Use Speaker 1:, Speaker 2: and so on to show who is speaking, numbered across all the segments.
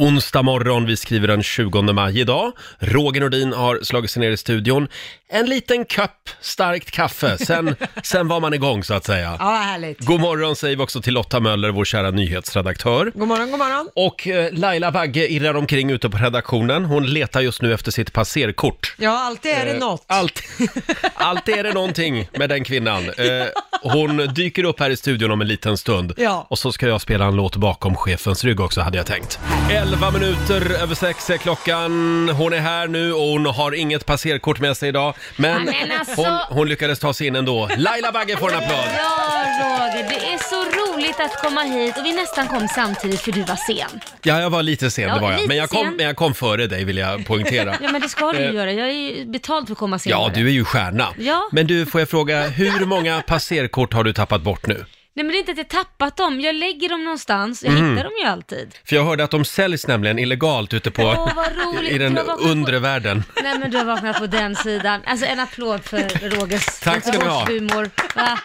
Speaker 1: Onsdag morgon, vi skriver den 20 maj idag. Roger Nordin har slagit sig ner i studion. En liten kopp starkt kaffe, sen, sen var man igång så att säga.
Speaker 2: Ja, härligt.
Speaker 1: God morgon säger vi också till Lotta Möller, vår kära nyhetsredaktör.
Speaker 2: God morgon, god morgon.
Speaker 1: Och eh, Laila Bagge irrar omkring ute på redaktionen. Hon letar just nu efter sitt passerkort.
Speaker 2: Ja, alltid är det
Speaker 1: Eh,
Speaker 2: något.
Speaker 1: Allt, alltid är det någonting med den kvinnan. Eh, Hon dyker upp här i studion om en liten stund.
Speaker 2: Ja.
Speaker 1: Och så ska jag spela en låt bakom chefens rygg också, hade jag tänkt. 11 minuter över sex är klockan. Hon är här nu och hon har inget passerkort med sig idag. Men,
Speaker 3: Ja, men alltså-
Speaker 1: hon, hon lyckades ta sig in ändå. Laila Bagge får en applåd!
Speaker 3: Ja, Roger, det är så roligt att komma hit och vi nästan kom samtidigt för du var sen.
Speaker 1: Ja, jag var lite sen,
Speaker 3: Ja,
Speaker 1: det var jag.
Speaker 3: lite
Speaker 1: Men jag, kom,
Speaker 3: sen.
Speaker 1: men jag kom före dig, vill jag poängtera.
Speaker 3: Ja, men det ska du ju
Speaker 1: Eh.
Speaker 3: göra. Jag är ju betald för att komma senare.
Speaker 1: Ja, du är ju stjärna.
Speaker 3: Ja.
Speaker 1: Men du, får jag fråga, hur många passerkort har du tappat bort nu?
Speaker 3: Nej, men det är inte att jag tappat dem. Jag lägger dem någonstans. Jag
Speaker 1: Mm.
Speaker 3: hittar dem ju alltid.
Speaker 1: För jag hörde att de säljs nämligen illegalt ute på...
Speaker 3: Åh, vad roligt.
Speaker 1: I den
Speaker 3: Du har vaknat på-
Speaker 1: undre världen.
Speaker 3: Nej, men du har vaknat på den sidan. Alltså, en applåd för Rogers
Speaker 1: Tack ska du ha.
Speaker 3: Göteborgshumor. Va?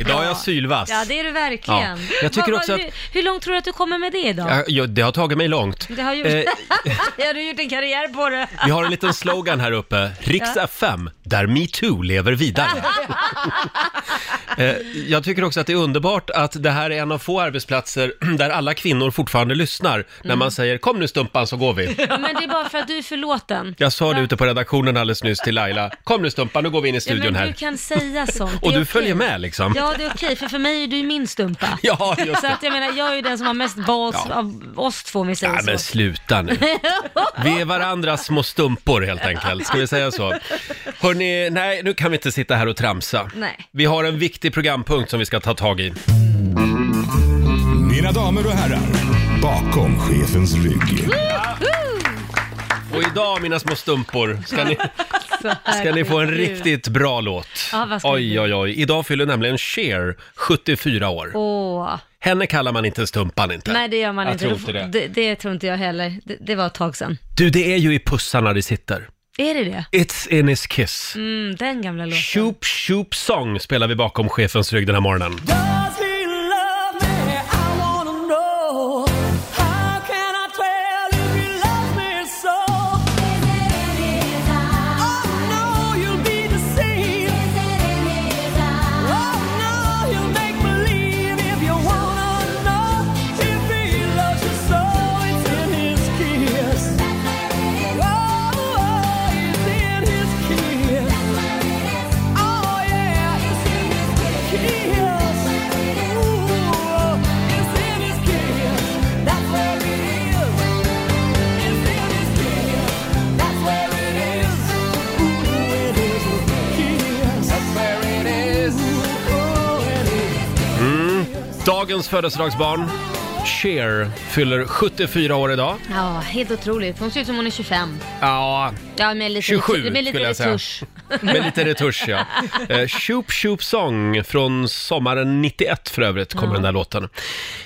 Speaker 1: Idag är jag sylvass.
Speaker 3: Ja, det är du verkligen.
Speaker 1: Ja. Jag tycker
Speaker 3: Vad-
Speaker 1: också
Speaker 3: vad-
Speaker 1: att-
Speaker 3: Hur långt tror du att du kommer med det idag?
Speaker 1: Ja, ja, det har tagit mig långt.
Speaker 3: Det har gjort...
Speaker 1: Eh,
Speaker 3: jag har gjort en karriär på det.
Speaker 1: vi har en liten slogan här uppe. Riks FM, där metoo lever vidare. eh, jag tycker också att det är underbart att det här är en av få arbetsplatser där alla kvinnor fortfarande lyssnar
Speaker 3: Mm.
Speaker 1: när man säger kom nu stumpan så går vi.
Speaker 3: Ja, men det är bara för att du är förlåten.
Speaker 1: Jag sa det ute på redaktionen alldeles nyss till Laila. Kom nu stumpan, nu går vi in i
Speaker 3: Ja,
Speaker 1: studion
Speaker 3: men du
Speaker 1: här.
Speaker 3: kan säga sånt. Det
Speaker 1: Och
Speaker 3: är
Speaker 1: du
Speaker 3: okej.
Speaker 1: följer med liksom.
Speaker 3: Ja, det är okej, för för mig är du ju min stumpa.
Speaker 1: Ja, just
Speaker 3: Så
Speaker 1: det.
Speaker 3: att jag menar, jag är ju den som har mest balls
Speaker 1: Ja.
Speaker 3: av oss två om vi säger
Speaker 1: Ja, men
Speaker 3: så.
Speaker 1: sluta nu. Vi är varandras små stumpor helt enkelt, ska vi säga så? Hörrni, nej, nu kan vi inte sitta här och tramsa.
Speaker 3: Nej.
Speaker 1: Vi har en viktig programpunkt som vi ska ta tag i.
Speaker 4: Mina damer och herrar, bakom chefens rygg.
Speaker 1: Och idag, mina små stumpor, ska ni, ska ni få en riktigt bå låt.
Speaker 3: Ja, vad ska
Speaker 1: Oj,
Speaker 3: det
Speaker 1: oj, oj. Idag fyller nämligen Cher 74 år.
Speaker 3: Åh,
Speaker 1: Henne kallar man inte stumpan inte.
Speaker 3: nej det gör man
Speaker 1: jag
Speaker 3: inte.
Speaker 1: Tror
Speaker 3: Då-
Speaker 1: inte det.
Speaker 3: det. Det tror inte jag heller. Det, det var ett tag sedan.
Speaker 1: Du, det är ju i pussarna det sitter.
Speaker 3: Är det det?
Speaker 1: It's in his kiss.
Speaker 3: Mm, den gamla låten.
Speaker 1: Shoop, shoop song spelar vi bakom chefens rygg den här morgonen.
Speaker 5: Does he love me? I wanna know. How can I tell if he loves me so? Oh no, you'll be deceived. Oh no, you'll make believe if you wanna know if he loves you so. It's in his kiss. Oh, oh, it's in his kiss. Oh yeah, it's in his kiss. Ooh, it's in his kiss. That's where it is. It's in his kiss. That's where it is. Ooh, it is his kiss. That's where it is. Ooh, it is.
Speaker 1: Dagens födelsedagsbarn, Cher, fyller 74 år idag.
Speaker 3: Ja, helt otroligt. Hon ser ut som hon är 25.
Speaker 1: Ja,
Speaker 3: Ja, med lite
Speaker 1: 27
Speaker 3: med lite
Speaker 1: skulle jag säga.
Speaker 3: retusch.
Speaker 1: med lite retusch ja. Eh, Shoop Shoop Song från sommaren 91 för övrigt kommer den där låten.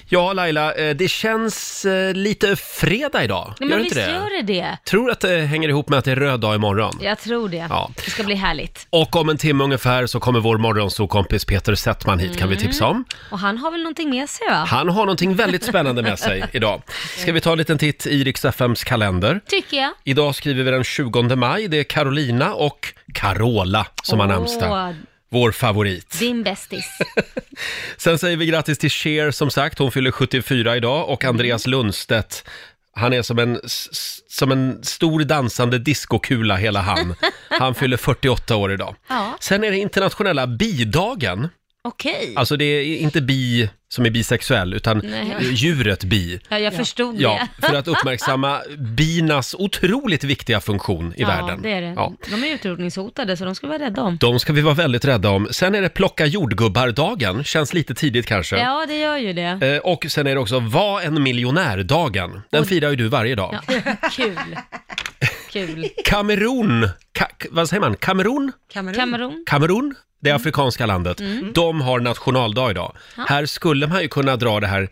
Speaker 1: Ja, Laila, eh, det känns eh, lite fredag idag.
Speaker 3: Nej,
Speaker 1: gör
Speaker 3: men
Speaker 1: det
Speaker 3: visst
Speaker 1: inte det?
Speaker 3: gör det det?
Speaker 1: Tror att det hänger ihop med att det är röd dag imorgon.
Speaker 3: Jag tror det.
Speaker 1: Ja.
Speaker 3: Det ska bli härligt.
Speaker 1: Och om en timme ungefär så kommer vår morgonsokompis Peter Settman hit, kan vi
Speaker 3: Mm.
Speaker 1: tipsa om.
Speaker 3: Och han har väl någonting med sig va?
Speaker 1: Han har någonting väldigt spännande med sig idag. Ska vi ta en liten titt i Rix FMs kalender?
Speaker 3: Tycker jag.
Speaker 1: Idag skriver vi den 20 maj. Det är Carolina och Carola som har
Speaker 3: Åh.
Speaker 1: namnsdag. Vår favorit.
Speaker 3: Din bästis.
Speaker 1: Sen säger vi grattis till Cher som sagt. Hon fyller 74 idag och
Speaker 3: Mm.
Speaker 1: Andreas Lundstedt. Han är som en, s- s- som en stor dansande diskokula hela han. Han fyller 48 år idag.
Speaker 3: Ja.
Speaker 1: Sen är det internationella bidagen.
Speaker 3: Okej.
Speaker 1: Alltså det är inte bi som är bisexuell utan
Speaker 3: Nej.
Speaker 1: eh, djuret bi.
Speaker 3: Ja, jag förstod
Speaker 1: Ja,
Speaker 3: det.
Speaker 1: för att uppmärksamma binas otroligt viktiga funktion i
Speaker 3: ja,
Speaker 1: världen.
Speaker 3: det är det.
Speaker 1: Ja.
Speaker 3: De är utrotningshotade, så de ska vi vara rädda om.
Speaker 1: De ska vi vara väldigt rädda om. Sen är det plocka jordgubbar-dagen, känns lite tidigt kanske.
Speaker 3: Ja, det gör ju det.
Speaker 1: Eh, Och sen är det också var en miljonär-dagen. Den firar ju du varje dag.
Speaker 3: Ja. Kul. Kul.
Speaker 1: Kamerun, ka- vad säger man? Kamerun?
Speaker 2: Kamerun.
Speaker 3: Kamerun.
Speaker 1: Kamerun, det
Speaker 3: Mm.
Speaker 1: afrikanska landet. De har nationaldag idag. Här skulle man ju kunna dra det här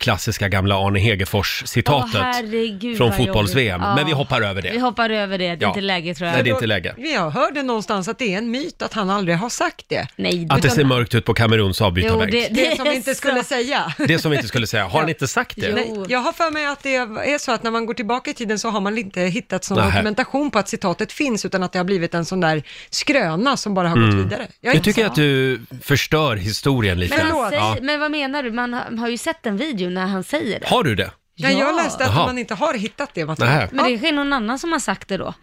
Speaker 1: klassiska gamla Arne
Speaker 3: Åh,
Speaker 1: Hegerfors-citatet
Speaker 3: herregud,
Speaker 1: från
Speaker 3: vad
Speaker 1: fotbolls-VM.
Speaker 3: jobbigt.
Speaker 1: Men
Speaker 3: Ja.
Speaker 1: vi hoppar över
Speaker 3: Vi
Speaker 1: det.
Speaker 3: hoppar över det, det är
Speaker 1: Ja.
Speaker 3: inte läge tror jag.
Speaker 1: Nej, det är inte läge.
Speaker 2: Jag hörde någonstans att det är en myt att han aldrig har sagt det.
Speaker 3: Nej,
Speaker 1: Att det
Speaker 3: utan-
Speaker 1: ser mörkt ut på Kameruns
Speaker 3: Jo,
Speaker 1: avbytarbänk.
Speaker 3: det,
Speaker 1: Det...
Speaker 2: Det som vi
Speaker 3: är
Speaker 2: inte
Speaker 3: så.
Speaker 2: skulle säga.
Speaker 1: som vi inte skulle säga. Har han inte sagt det?
Speaker 3: Jo.
Speaker 2: Nej, jag har för mig att det är så att när man går tillbaka i tiden så har man inte hittat någon
Speaker 1: Nähä.
Speaker 2: dokumentation på att citatet finns utan att det har blivit en sån där skröna som bara har gått vidare. är
Speaker 1: Nu
Speaker 2: inte
Speaker 1: tycker
Speaker 2: så-
Speaker 1: Mm. jag att du förstör historien lite.
Speaker 3: Alltså. Men, han
Speaker 2: Förlåt.
Speaker 3: säger,
Speaker 1: Ja.
Speaker 3: men vad menar du? Man har, har ju sett en video när han säger det.
Speaker 1: Har du det?
Speaker 2: Nej,
Speaker 3: Ja.
Speaker 2: jag läste att
Speaker 1: Jaha.
Speaker 2: man inte har hittat det
Speaker 1: Nähä.
Speaker 2: materialet.
Speaker 3: Men det är någon annan som har sagt det då.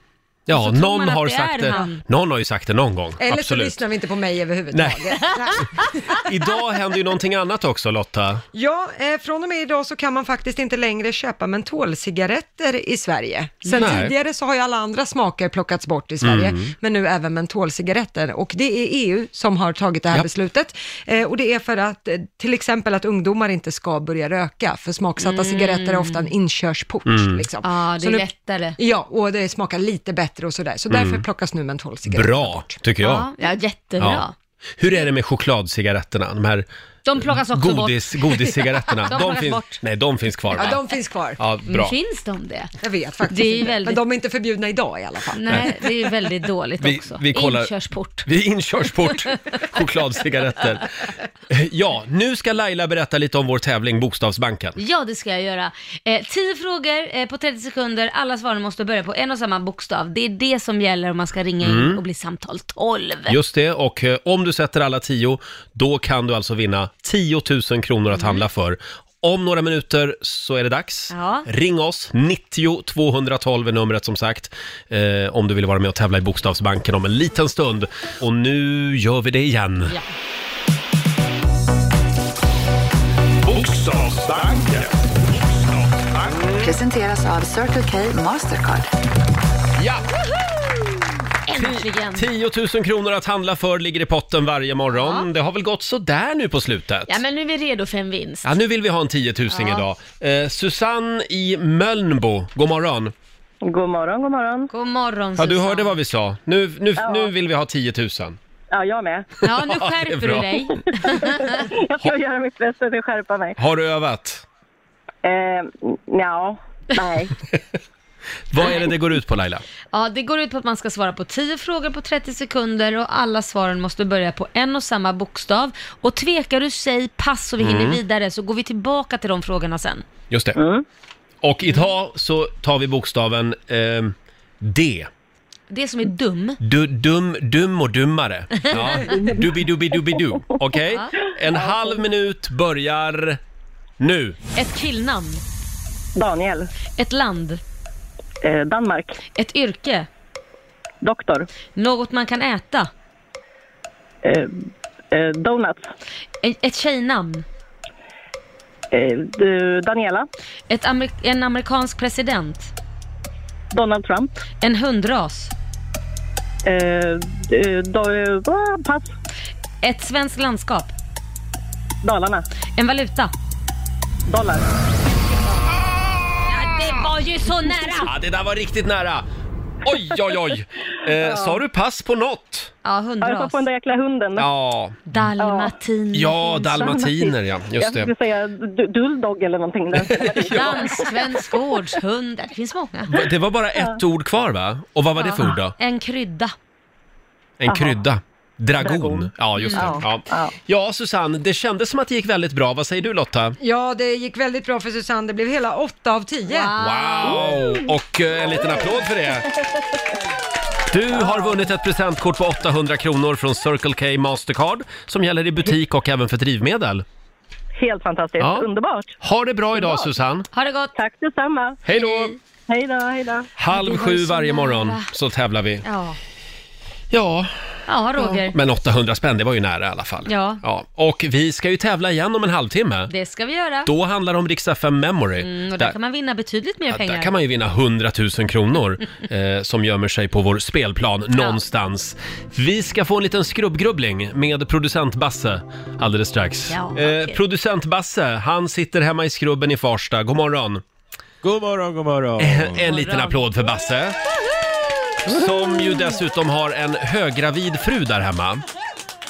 Speaker 1: Ja,
Speaker 3: så tror man
Speaker 1: någon
Speaker 3: att
Speaker 1: har
Speaker 3: det
Speaker 1: sagt
Speaker 3: är
Speaker 1: det.
Speaker 3: han.
Speaker 1: Någon har ju sagt det någon gång.
Speaker 2: Eller så
Speaker 1: Absolut.
Speaker 2: lyssnar vi inte på mig överhuvudtaget.
Speaker 1: Idag händer ju någonting annat också Lotta.
Speaker 2: Ja, eh, från och med idag så kan man faktiskt inte längre köpa mentolcigaretter i Sverige. Sen
Speaker 1: Nej. Mm.
Speaker 2: tidigare så har ju alla andra smaker plockats bort i Sverige, men nu även mentolcigaretter. Och det är EU som har tagit det här
Speaker 1: Ja.
Speaker 2: beslutet. Eh, och det är för att eh, till exempel att ungdomar inte ska börja röka, för smaksatta cigaretter är ofta en
Speaker 1: Mm.
Speaker 2: inkörsport. Liksom.
Speaker 3: Ja, det
Speaker 2: Så
Speaker 3: är
Speaker 2: nu-
Speaker 3: lättare.
Speaker 2: Ja, och det smakar lite bättre och sådär. Så därför plockas nu mentolcigaretter.
Speaker 1: Mm. Bra, tycker jag.
Speaker 3: Ja, ja jättebra.
Speaker 1: Ja. Hur är det med chokladcigaretterna? De här
Speaker 3: De plockas också bort.
Speaker 1: godis, godiscigaretterna.
Speaker 3: De plockas bort.
Speaker 1: Nej, de finns kvar.
Speaker 2: Ja,
Speaker 1: va?
Speaker 2: de finns kvar.
Speaker 1: ja
Speaker 3: Men
Speaker 1: bra.
Speaker 3: Finns de det?
Speaker 2: Jag vet faktiskt
Speaker 3: Det är ju
Speaker 2: inte.
Speaker 3: väldigt-
Speaker 2: Men de är inte förbjudna idag i alla fall.
Speaker 3: Nej, det är ju väldigt dåligt
Speaker 1: Vi-
Speaker 3: också.
Speaker 1: vi kollar-
Speaker 3: Inkörsport.
Speaker 1: Vid inkörsport, chokladcigaretter. Ja, nu ska Laila berätta lite om vår tävling Bokstavsbanken.
Speaker 3: Ja, det ska jag göra. Eh, tio frågor eh, på 30 sekunder. Alla svaren måste börja på en och samma bokstav. Det är det som gäller om man ska ringa in
Speaker 1: Mm.
Speaker 3: och bli samtal 12.
Speaker 1: Just det, och eh, om du sätter alla tio, då kan du alltså vinna 10 000 kronor
Speaker 3: Mm.
Speaker 1: att handla för. Om några minuter så är det dags.
Speaker 3: Ja.
Speaker 1: Ring oss, 90 212 är numret som sagt, eh, om du vill vara med och tävla i Bokstavsbanken om en liten stund. Och nu gör vi det igen.
Speaker 3: Ja.
Speaker 4: Bokstavsbanken.
Speaker 6: Presenteras av Circle K Mastercard.
Speaker 1: Ja!
Speaker 3: Äntligen!
Speaker 1: 10 000 kronor att handla för ligger i potten varje morgon. Det har väl gått så där nu på slutet?
Speaker 3: Ja, men nu är vi redo för en vinst.
Speaker 1: Ja, nu vill vi ha en 10 000 idag. Eh, Susanne i Mölnbo, god morgon.
Speaker 7: God morgon, god morgon.
Speaker 3: God morgon
Speaker 1: Ja, du
Speaker 3: Susanne.
Speaker 1: hörde vad vi sa. Nu, nu, nu vill vi ha 10 000.
Speaker 7: Ja, jag med.
Speaker 3: Ja, nu
Speaker 1: Ja, det är
Speaker 3: skärper
Speaker 1: bra.
Speaker 3: du dig.
Speaker 7: Jag ska göra mitt bästa till att skärpa mig.
Speaker 1: Har du övat?
Speaker 7: Eh, ja, nej.
Speaker 1: Vad är det det går ut på Laila?
Speaker 3: Ja, det går ut på att man ska svara på 10 frågor på 30 sekunder och alla svaren måste börja på en och samma bokstav. Och tvekar du, säg pass så vi
Speaker 1: Mm.
Speaker 3: hinner vidare så går vi tillbaka till de frågorna sen.
Speaker 1: Just det. Och idag så tar vi bokstaven ehm, D.
Speaker 3: Det som är dum.
Speaker 1: Du, dum, dum och dummare. Ja. Dubbi-dubbi-dubbi-du. Okej? En halv minut börjar nu.
Speaker 3: Ett killnamn.
Speaker 7: Daniel.
Speaker 3: Ett land.
Speaker 7: Eh, Danmark.
Speaker 3: Ett yrke.
Speaker 7: Doktor.
Speaker 3: Något man kan äta.
Speaker 7: Eh, eh, donuts.
Speaker 3: E- Ett tjejnamn.
Speaker 7: Eh, du, Daniela.
Speaker 3: Ett amer- en amerikansk president.
Speaker 7: Donald Trump.
Speaker 3: En hundras.
Speaker 7: Eh, du, do, ah, pass.
Speaker 3: Ett svenskt landskap.
Speaker 7: Dalarna.
Speaker 3: En valuta.
Speaker 7: Dollar.
Speaker 3: Ja, det var ju så nära!
Speaker 1: Ja, det där var riktigt nära. Oj, oj, oj. Eh, sa du pass på något?
Speaker 3: Ja,
Speaker 7: Ja, jag sa
Speaker 3: hundras.
Speaker 7: på den där jäkla hunden.
Speaker 1: Ja,
Speaker 3: Dalmatiner.
Speaker 1: ja
Speaker 3: finns.
Speaker 1: dalmatiner ja. Just
Speaker 7: jag
Speaker 1: det.
Speaker 7: skulle säga du, Dulldog eller någonting. Där.
Speaker 3: Dansk, svensk gårdshund. Det finns många.
Speaker 1: Va- Det var bara ett ord kvar va? Och vad var det för ord då?
Speaker 3: En krydda.
Speaker 1: En krydda. Dragon. Ja, just det. Ja. Ja. Susanne, det kändes som att det gick väldigt bra. Vad säger du Lotta?
Speaker 2: Ja, det gick väldigt bra för Susanne. Det blev hela 8 av 10.
Speaker 1: Wow! Och eh, en liten applåd för det. Du har vunnit ett presentkort på 800 kronor från Circle K Mastercard som gäller i butik och även för drivmedel.
Speaker 7: Helt fantastiskt.
Speaker 1: Ja.
Speaker 7: Underbart.
Speaker 1: Ha det bra idag Susanne.
Speaker 3: Ha det gott!
Speaker 7: Tack detsamma.
Speaker 1: Hej då!
Speaker 7: Hej då, hej då.
Speaker 1: Halv
Speaker 3: Det var ju
Speaker 1: sju
Speaker 3: så
Speaker 1: varje
Speaker 3: nära.
Speaker 1: morgon så tävlar vi.
Speaker 3: Ja,
Speaker 1: Ja,
Speaker 3: ja Roger.
Speaker 1: men 800 spänn, det var ju nära i alla fall.
Speaker 3: Ja.
Speaker 1: ja. Och vi ska ju tävla igen om en halvtimme.
Speaker 3: Det ska vi göra.
Speaker 1: Då handlar det om Rix FM Memory.
Speaker 3: Mm, och där,
Speaker 1: där,
Speaker 3: kan man vinna betydligt mer
Speaker 1: ja,
Speaker 3: pengar.
Speaker 1: där kan man ju vinna 100 000 kronor eh, som gömmer sig på vår spelplan någonstans. Vi ska få en liten skrubbgrubbling med producent Basse alldeles strax.
Speaker 3: Ja, vad
Speaker 1: eh,
Speaker 3: kul.
Speaker 1: producent Basse, han sitter hemma i skrubben i Farsta. God morgon! Eh,
Speaker 8: God morgon, god morgon.
Speaker 4: Eh,
Speaker 1: En liten applåd för Basse. Som ju dessutom har en höggravid fru där hemma.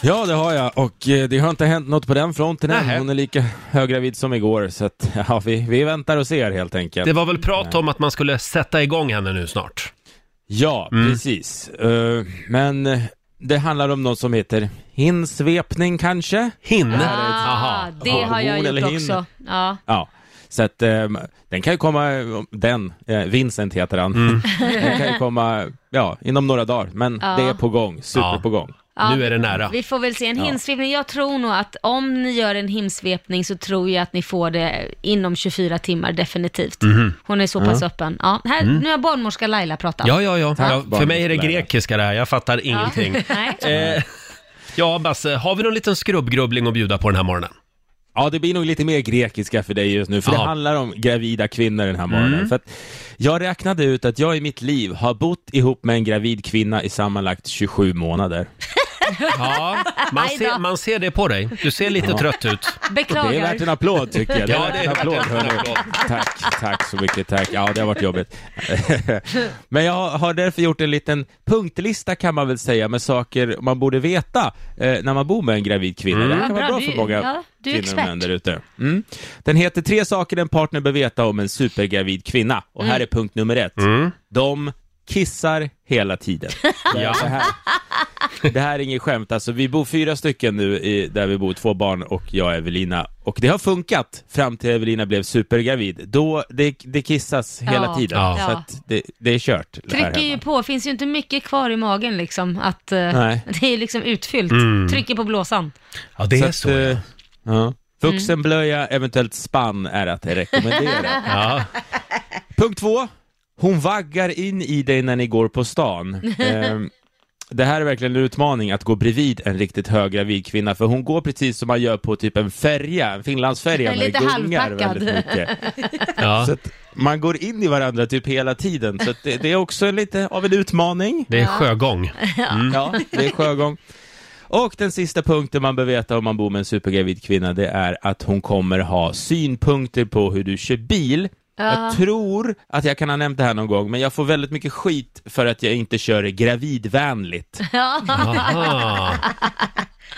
Speaker 8: Ja, det har jag och eh, det har inte hänt något på den fronten
Speaker 1: Nähä.
Speaker 8: än. Hon är lika höggravid som igår så att, ja, vi, vi väntar och ser helt enkelt.
Speaker 1: Det var väl prat om att man skulle sätta igång henne nu snart.
Speaker 8: Ja,
Speaker 1: Mm.
Speaker 8: precis. Eh, men eh, det handlar om något som heter hinsvepning kanske?
Speaker 1: Hin.
Speaker 3: Ah, det
Speaker 8: Ja,
Speaker 3: har jag
Speaker 8: hormon eller
Speaker 3: gjort
Speaker 8: hin.
Speaker 3: också. Ja.
Speaker 8: Ja. Så att eh, den kan ju komma, den, eh, Vincent heter han,
Speaker 1: Mm.
Speaker 8: den kan ju komma, ja, inom några dagar, men
Speaker 3: Ja.
Speaker 8: det är på gång, super
Speaker 1: Ja.
Speaker 8: på gång.
Speaker 3: Ja,
Speaker 1: Nu är det nära.
Speaker 3: Vi får väl se en hinsvepning. Jag tror nog att om ni gör en himsvepning så tror jag att ni får det inom 24 timmar definitivt.
Speaker 1: Mhm.
Speaker 3: Hon är så pass öppen. Ja, här, Nu har barnmorska Laila pratat.
Speaker 1: Mm. Ja, ja, ja.
Speaker 8: Tack,
Speaker 1: ja för mig är det grekiska det här, jag fattar ingenting.
Speaker 3: Nej.
Speaker 1: Eh, ja, Basse, har vi någon liten skrubbgrubbling att bjuda på den här morgonen?
Speaker 8: Ja, det blir nog lite mer grekiska för dig just nu, för
Speaker 1: Ja.
Speaker 8: det handlar om gravida kvinnor den här morgonen. För att jag räknade ut att jag i mitt liv har bott ihop med en gravid kvinna i sammanlagt 27 månader.
Speaker 1: Ja, man
Speaker 3: Aj då.
Speaker 1: ser, man ser det på dig. Du ser lite trött ut.
Speaker 3: Beklagar.
Speaker 8: Det är värt en applåd tycker jag.
Speaker 1: Ja, det är värt en
Speaker 8: hörni.
Speaker 1: applåd.
Speaker 8: Tack, tack så mycket, tack. Ja, det har varit jobbigt. Men jag har därför gjort en liten punktlista kan man väl säga med saker man borde veta eh, när man bor med en gravid kvinna.
Speaker 1: Mm.
Speaker 8: Det här kan
Speaker 3: Ja,
Speaker 8: vara
Speaker 3: bra.
Speaker 8: bra
Speaker 3: Du-
Speaker 8: för många
Speaker 3: ja, du är
Speaker 8: kvinnor och män
Speaker 3: expert.
Speaker 8: där ute. Mm. Den heter Tre saker en partner bör veta om en supergravid kvinna. Och
Speaker 3: Mm.
Speaker 8: här är punkt nummer ett.
Speaker 1: Mm.
Speaker 8: De kissar hela tiden. Det är, så här. det här är inget skämt, alltså vi bor fyra stycken nu i, där vi bor, två barn och jag och Evelina. Och det har funkat fram till Evelina blev supergravid. Då, det, det kissas hela tiden,
Speaker 1: Ja.
Speaker 8: så att det, det är kört. här
Speaker 3: Trycker ju
Speaker 8: hemma.
Speaker 3: på, finns ju inte mycket kvar i magen liksom. Att, eh,
Speaker 8: Nej.
Speaker 3: det är ju liksom utfyllt.
Speaker 1: Mm.
Speaker 3: Trycker på blåsan.
Speaker 1: Ja, det är
Speaker 8: att,
Speaker 1: så.
Speaker 8: eh,
Speaker 1: ja.
Speaker 8: ja. Vuxenblöja, eventuellt spann är att rekommendera.
Speaker 1: Ja.
Speaker 8: Punkt två. Hon vaggar in i dig när ni går på stan. Ehm, Det här är verkligen en utmaning att gå bredvid en riktigt höggravid kvinna för hon går precis som man gör på typ en färja, en finlandsfärja
Speaker 3: En
Speaker 8: när det
Speaker 3: lite
Speaker 8: gungar
Speaker 3: halvpackad.
Speaker 8: väldigt mycket.
Speaker 1: Ja.
Speaker 8: Så att man går in i varandra typ hela tiden så att det, det är också en lite av en utmaning.
Speaker 1: Det är sjögång.
Speaker 8: Ja, Mm. det är sjögång. Och den sista punkten man bör veta om man bor med en supergravid kvinna, det är att hon kommer ha synpunkter på hur du kör bil. Jag tror att jag kan ha nämnt det här någon gång, men jag får väldigt mycket skit för att jag inte kör gravidvänligt.
Speaker 1: Aha.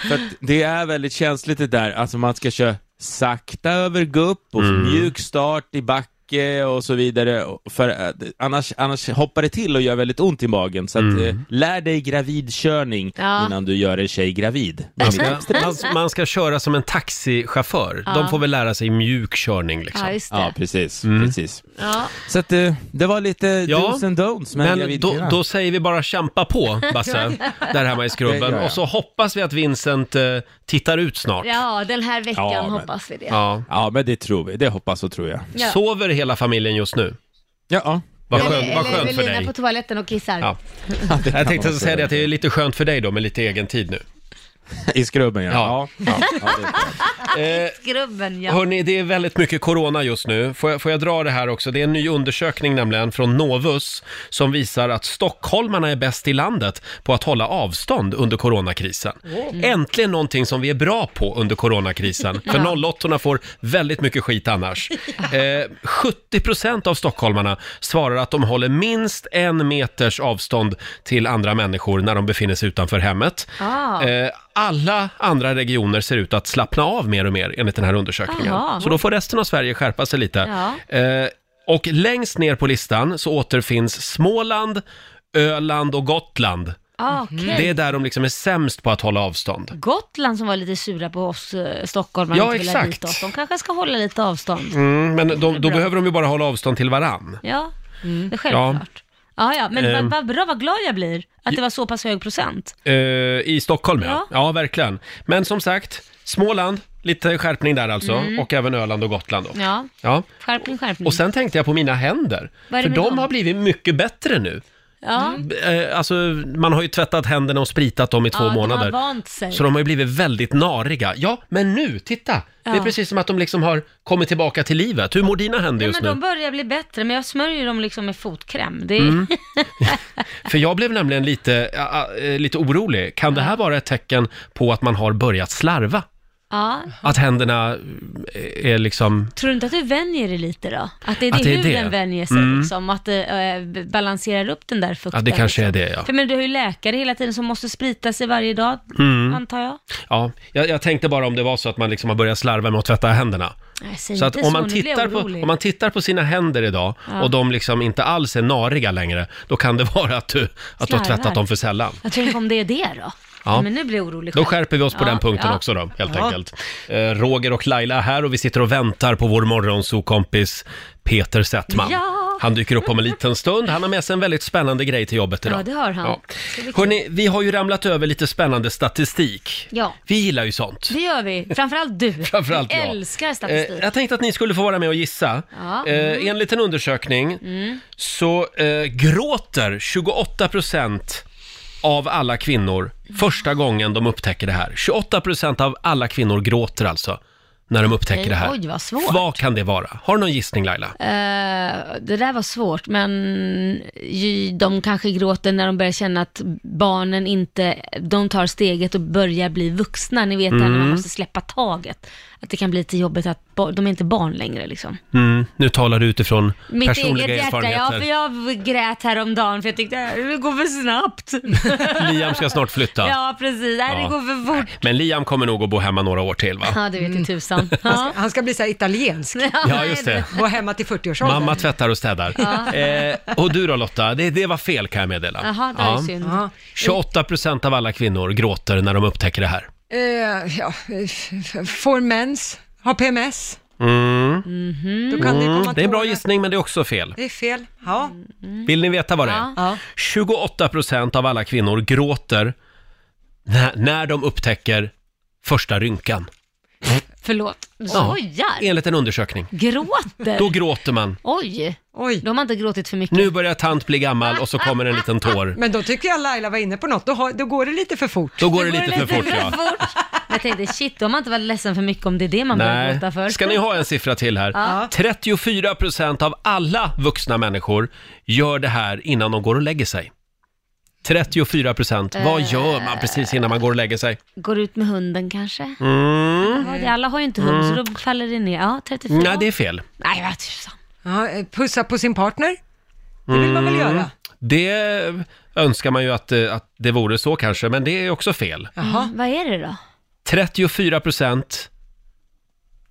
Speaker 8: För att det är väldigt känsligt det där, alltså man ska köra sakta över gupp och
Speaker 1: Mm.
Speaker 8: mjuk start i backe och så vidare. Och För eh, annars, annars hoppar det till och gör väldigt ont i magen. Så att,
Speaker 1: Mm.
Speaker 8: eh, lär dig gravidkörning
Speaker 3: Ja.
Speaker 8: innan du gör en tjej gravid.
Speaker 1: Man ska, man, man ska köra som en taxichaufför. De får väl lära sig mjuk körning liksom.
Speaker 3: Ja, just det.
Speaker 8: Ja, precis. precis.
Speaker 3: Ja.
Speaker 8: Så att, eh, det var lite
Speaker 1: Mm. Ja.
Speaker 8: dos and don'ts med en
Speaker 1: Men
Speaker 8: gravid
Speaker 1: då,
Speaker 8: kvinna.
Speaker 1: då säger vi bara kämpa på, Basse, där hemma i
Speaker 8: Det
Speaker 1: skrubben.
Speaker 8: gör jag.
Speaker 1: Och så hoppas vi att Vincent eh, tittar ut snart.
Speaker 3: ja, den här veckan
Speaker 8: Ja, men-
Speaker 3: hoppas vi det.
Speaker 1: Ja.
Speaker 8: Ja, men det tror vi. Det hoppas och tror jag.
Speaker 3: Ja.
Speaker 1: Sover hela familjen just nu?
Speaker 8: Ja, ja.
Speaker 1: Vad
Speaker 3: Eller-
Speaker 1: skönt, vad
Speaker 3: eller
Speaker 1: skönt för
Speaker 3: Evelina
Speaker 1: dig.
Speaker 3: på toaletten och kissar.
Speaker 1: Ja.
Speaker 8: det kan
Speaker 1: Jag
Speaker 8: man
Speaker 1: tänkte
Speaker 8: väl
Speaker 1: säga det, att det är lite skönt för dig då med lite egen tid nu.
Speaker 8: I skrubben, ja.
Speaker 1: Ja.
Speaker 8: ja. ja. ja, det är klart.
Speaker 3: Grubben, ja.
Speaker 1: Hörni, det är väldigt mycket corona just nu. Får jag, får jag dra det här också? Det är en ny undersökning nämligen från Novus som visar att stockholmarna är bäst i landet på att hålla avstånd under coronakrisen. Äntligen någonting som vi är bra på under coronakrisen. För 08 får väldigt mycket skit annars. Eh, 70% av stockholmarna svarar att de håller minst en meters avstånd till andra människor när de befinner sig utanför hemmet.
Speaker 3: Ah.
Speaker 1: Eh, alla andra regioner ser ut att slappna av mer och mer enligt den här undersökningen.
Speaker 3: Jaha.
Speaker 1: Så då får resten av Sverige skärpa sig lite. Eh, och längst ner på listan så återfinns Småland, Öland och Gotland.
Speaker 3: Ah, Okej.
Speaker 1: Det är där de liksom är sämst på att hålla avstånd.
Speaker 3: Gotland som var lite sura på oss eh, stockholmare
Speaker 1: Ja,
Speaker 3: och inte ville ha
Speaker 1: exakt.
Speaker 3: dit oss. De kanske ska hålla lite avstånd.
Speaker 1: Mm, men de, då behöver de ju bara hålla avstånd till varann.
Speaker 3: Ja, det är självklart. Ja, ja, men
Speaker 1: Ehm.
Speaker 3: vad- vad bra, vad glad jag blir att det var så pass hög procent.
Speaker 1: Eh, I Stockholm ja.
Speaker 3: Ja.
Speaker 1: Ja, verkligen. Men som sagt, Småland, lite skärpning där alltså. Och även Öland och Gotland då.
Speaker 3: Mm. Ja,
Speaker 1: Ja.
Speaker 3: skärpning, skärpning.
Speaker 1: Och sen tänkte jag på mina händer.
Speaker 3: Vad är det
Speaker 1: För
Speaker 3: med
Speaker 1: de
Speaker 3: dem?
Speaker 1: har blivit mycket bättre nu.
Speaker 3: ja.
Speaker 1: Eh, alltså, man har ju tvättat händerna och spritat dem i två
Speaker 3: ja,
Speaker 1: månader.
Speaker 3: De har vant sig.
Speaker 1: Så de har ju blivit väldigt nariga. Ja, men nu, titta! Det är
Speaker 3: Ja.
Speaker 1: precis som att de liksom har kommit tillbaka till livet. Hur mår dina händer
Speaker 3: ja,
Speaker 1: just
Speaker 3: men de
Speaker 1: nu?
Speaker 3: börjar bli bättre, men jag smörjer dem liksom med fotkräm. Det är,
Speaker 1: Mm. För jag blev nämligen eh, lite, äh, äh, lite orolig. Kan det här vara ett tecken på att man har börjat slarva?
Speaker 3: Ja.
Speaker 1: Att händerna är liksom...
Speaker 3: Tror du inte att du vänjer dig lite då? Att det är det,
Speaker 1: Att det är
Speaker 3: huden
Speaker 1: det?
Speaker 3: vänjer sig
Speaker 1: Mm.
Speaker 3: liksom, att det eh, b- balanserar upp den där fukten. liksom?
Speaker 1: Ja, det kanske är det, ja.
Speaker 3: För men du har ju läkare hela tiden som måste sprita sig varje dag,
Speaker 1: Mm.
Speaker 3: antar jag.
Speaker 1: Ja, jag, jag tänkte bara om det var så att man liksom har börjat slarva med att tvätta händerna.
Speaker 3: Nej, säg
Speaker 1: Så att
Speaker 3: inte
Speaker 1: om man,
Speaker 3: nu blir jag
Speaker 1: tittar på,
Speaker 3: orolig.
Speaker 1: om man tittar på sina händer idag
Speaker 3: Ja.
Speaker 1: och de liksom inte alls är nariga längre, då kan det vara att du, att du
Speaker 3: Slarvar.
Speaker 1: har tvättat dem för sällan.
Speaker 3: Jag tänker om det är det då?
Speaker 1: Ja.
Speaker 3: Nej, Men nu blir jag orolig själv.
Speaker 1: Då skärper vi oss på
Speaker 3: Ja,
Speaker 1: den punkten
Speaker 3: ja.
Speaker 1: också då, helt
Speaker 3: Ja.
Speaker 1: enkelt. Eh, Roger och Laila är här och vi sitter och väntar på vår morgonsokompis Peter Settman.
Speaker 3: Ja.
Speaker 1: Han dyker upp om en liten stund. Han har med sig en väldigt spännande grej till jobbet idag.
Speaker 3: Ja, det har han. Så det är kul.
Speaker 1: Hörrni, vi har ju ramlat över lite spännande statistik.
Speaker 3: Ja.
Speaker 1: Vi gillar ju sånt.
Speaker 3: Det gör vi, framförallt du.
Speaker 1: Framförallt
Speaker 3: vi
Speaker 1: jag.
Speaker 3: älskar statistik.
Speaker 1: Eh, jag tänkte att ni skulle få vara med och gissa.
Speaker 3: Ja. Mm.
Speaker 1: Eh, enligt en undersökning så eh, gråter 28 procent av alla kvinnor första gången de upptäcker det här. 28 procent av alla kvinnor gråter alltså när de upptäcker
Speaker 3: Okej,
Speaker 1: det här.
Speaker 3: oj, vad svårt.
Speaker 1: Vad kan det vara? Har du någon gissning Laila?
Speaker 3: Eh, det där var svårt, men ju- de kanske gråter när de börjar känna att barnen inte, de tar steget och börjar bli vuxna. Ni vet det här när
Speaker 1: Mm.
Speaker 3: man måste släppa taget. Att det kan bli lite jobbigt att ba- de är inte barn längre liksom.
Speaker 1: Mm, nu talar du utifrån
Speaker 3: Mitt
Speaker 1: personliga
Speaker 3: eget hjärta, ja,
Speaker 1: erfarenheter.
Speaker 3: för jag grät häromdagen för jag tyckte "Äh, det går för snabbt.
Speaker 1: Liam ska snart flytta.
Speaker 3: ja, precis. Äh,
Speaker 1: Ja.
Speaker 3: Det går för fort.
Speaker 1: Men Liam kommer nog att bo hemma några år till va?
Speaker 3: Ja, det vet ju tusan. Ja.
Speaker 2: Han ska bli så här italiensk,
Speaker 1: Ja, just det.
Speaker 2: gå hemma till 40-årsåldern.
Speaker 1: Mamma tvättar och städar. Eh, och du då Lotta, det, det var fel kan jag meddela.
Speaker 3: Jaha, det var ju synd.
Speaker 2: Ja.
Speaker 1: 28 procent av alla kvinnor gråter när de upptäcker det här.
Speaker 2: Eh, ja, f- f- får mens, har PMS,
Speaker 1: Mm.
Speaker 2: Mhm. då kan det komma
Speaker 1: Det är en bra
Speaker 2: tårar.
Speaker 1: gissning, men det är också fel.
Speaker 2: Det är fel. Ja.
Speaker 1: Vill ni veta vad det är?
Speaker 3: Mm. Ja.
Speaker 2: Ja.
Speaker 1: 28 procent av alla kvinnor gråter när, när de upptäcker första rynkan.
Speaker 3: Förlåt. Skojar?
Speaker 1: Enligt en undersökning.
Speaker 3: Gråter?
Speaker 1: Då gråter man.
Speaker 3: Oj,
Speaker 2: Oj.
Speaker 3: då har man inte gråtit för mycket.
Speaker 1: Nu börjar tant bli gammal och så kommer en liten tår.
Speaker 2: Men då tycker jag Laila var inne på något, då, har, då går det lite för fort.
Speaker 1: Då går det lite för fort ja.
Speaker 3: Men Jag tänkte shit, då har man inte varit ledsen för mycket om det är det man börjar
Speaker 1: Nej.
Speaker 3: gråta för.
Speaker 1: Ska ni ha en siffra till här?
Speaker 3: Ja.
Speaker 1: 34 procent av alla vuxna människor gör det här innan de går och lägger sig. 34 procent. Vad gör man precis innan man går och lägger sig?
Speaker 3: Går ut med hunden kanske?
Speaker 1: Mm.
Speaker 3: Ja, det, alla har ju inte hund, så då faller det ner. Ja, 34.
Speaker 1: Nej, det är fel.
Speaker 3: Nej, vad tusan.
Speaker 2: Ja, eh, pussa på sin partner, det vill man väl
Speaker 1: Mm.
Speaker 2: göra?
Speaker 1: Det önskar man ju att, eh, att det vore så kanske, men det är också fel.
Speaker 2: Jaha.
Speaker 3: Mm, Vad är det då?
Speaker 1: 34 procent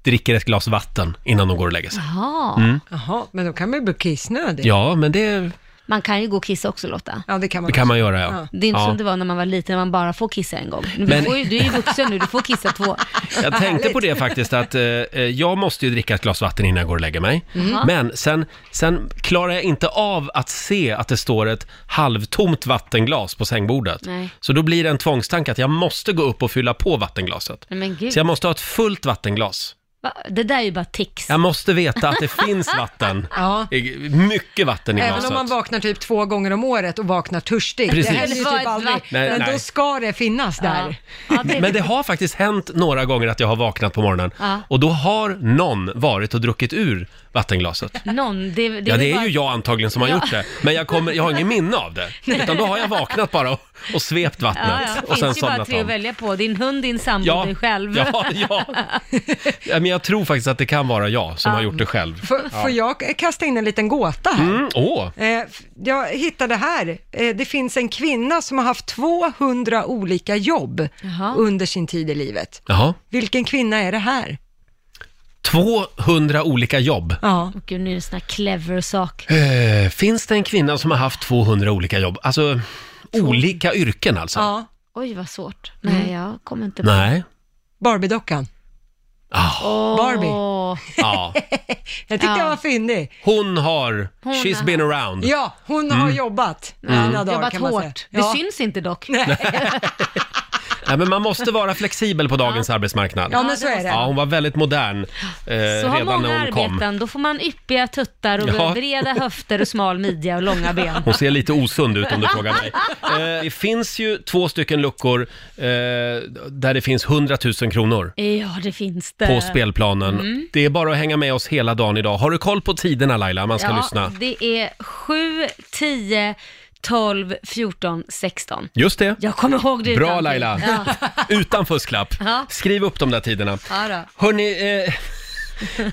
Speaker 1: dricker ett glas vatten innan de går och lägger sig.
Speaker 3: Jaha.
Speaker 1: Mm.
Speaker 2: Jaha, men då kan man ju bli kissnödig.
Speaker 1: Ja, men det,
Speaker 3: Man kan ju gå och kissa också Lotta.
Speaker 2: Ja, det kan man.
Speaker 1: det kan man göra ja.
Speaker 3: Det är inte
Speaker 1: ja.
Speaker 3: som det var när man var liten, när man bara får kissa en gång. Du,
Speaker 1: Men-
Speaker 3: får ju, du är ju vuxen nu, du får kissa två.
Speaker 1: Jag tänkte på det faktiskt att eh, eh, jag måste ju dricka ett glas vatten innan jag går och lägger mig.
Speaker 2: Mm.
Speaker 1: Mm. Men sen, sen klarar jag inte av att se att det står ett halvtomt vattenglas på sängbordet.
Speaker 3: Nej.
Speaker 1: Så då blir det en tvångstanke att jag måste gå upp och fylla på vattenglaset.
Speaker 2: Mm.
Speaker 3: Nej, Men
Speaker 1: Så
Speaker 3: gud,
Speaker 1: jag måste ha ett fullt vattenglas.
Speaker 3: Va? det där är ju bara tics.
Speaker 1: Jag måste veta att det finns vatten.
Speaker 2: Ja.
Speaker 1: I- Mycket vatten i
Speaker 2: Även om man
Speaker 1: glaset.
Speaker 2: vaknar typ två gånger om året och vaknar törstig.
Speaker 1: Precis.
Speaker 2: Det händer ju
Speaker 3: Vad
Speaker 2: typ
Speaker 3: ett
Speaker 2: aldrig.
Speaker 3: vatten.
Speaker 1: Nej,
Speaker 2: Men
Speaker 1: nej.
Speaker 2: då ska det finnas
Speaker 3: Ja.
Speaker 2: där.
Speaker 3: Ja, det,
Speaker 1: Men det har faktiskt hänt några gånger att jag har vaknat på morgonen
Speaker 3: Ja.
Speaker 1: och då har någon varit och druckit ur vattenglaset.
Speaker 3: någon, det, det,
Speaker 1: Ja,
Speaker 3: väl
Speaker 1: det är
Speaker 3: bara-
Speaker 1: ju jag antagligen som har gjort det. Men jag, kommer, jag har ingen minne av det. Utan då har jag vaknat bara och, och svept vattnet.
Speaker 3: Ja, ja.
Speaker 1: Och
Speaker 3: Det
Speaker 1: sen
Speaker 3: finns ju bara
Speaker 1: somnat
Speaker 3: tre att
Speaker 1: om.
Speaker 3: välja på. Din hund, din sambo,
Speaker 1: Ja,
Speaker 3: dig själv.
Speaker 1: ja, ja. ja, men jag tror faktiskt att det kan vara jag som har gjort det själv.
Speaker 2: Får, får jag kasta in en liten gåta här?
Speaker 1: Mm, åh,
Speaker 2: Eh, f- Jag hittade här, Eh, det finns en kvinna som har haft 200 olika jobb
Speaker 3: Jaha.
Speaker 2: under sin tid i livet.
Speaker 1: jaha.
Speaker 2: Vilken kvinna är det här?
Speaker 1: 200 olika jobb.
Speaker 2: Ja.
Speaker 3: Åh, Gud, nu är det en sån här clever sak.
Speaker 1: Eh, finns det en kvinna som har haft 200 olika jobb? Alltså, olika yrken alltså?
Speaker 2: ja.
Speaker 3: Oj, vad svårt. Nej, jag kommer inte på.
Speaker 1: Nej.
Speaker 2: Barbie-dockan.
Speaker 1: Ah,
Speaker 3: Åh.
Speaker 2: Barbie.
Speaker 1: ja.
Speaker 2: Jag tyckte
Speaker 3: Ja.
Speaker 2: jag var fyndig.
Speaker 1: Hon har...
Speaker 3: Hon
Speaker 1: she's
Speaker 3: har-
Speaker 1: been around.
Speaker 2: Ja, hon har
Speaker 1: Mm.
Speaker 2: jobbat alla dagar
Speaker 3: Jobbat
Speaker 2: kan man säga.
Speaker 3: hårt. Det
Speaker 2: Ja.
Speaker 3: syns inte dock.
Speaker 1: Nej, men man måste vara flexibel på dagens arbetsmarknad.
Speaker 2: ja, men så är det.
Speaker 1: Ja, hon var väldigt modern eh,
Speaker 3: Så har
Speaker 1: redan
Speaker 3: många
Speaker 1: när hon kom.
Speaker 3: arbeten, då får man yppiga tuttar och
Speaker 1: Ja.
Speaker 3: breda höfter och smal midja och långa ben.
Speaker 1: Hon ser lite osund ut om du frågar mig. Eh, det finns ju två stycken luckor eh, där det finns 100 000 kronor
Speaker 3: Ja, det finns det.
Speaker 1: på spelplanen.
Speaker 3: Mm.
Speaker 1: Det är bara att hänga med oss hela dagen idag. Har du koll på tiderna Laila, man ska
Speaker 3: ja,
Speaker 1: lyssna?
Speaker 3: Det är 7, 10, 12, 14, 16.
Speaker 1: Just det.
Speaker 3: Jag kommer ihåg det
Speaker 1: Bra
Speaker 3: utantill.
Speaker 1: Laila!
Speaker 3: Ja,
Speaker 1: Utan fusklapp.
Speaker 3: Ja.
Speaker 1: Skriv upp de där tiderna.
Speaker 3: ja då.
Speaker 1: Hörni, eh,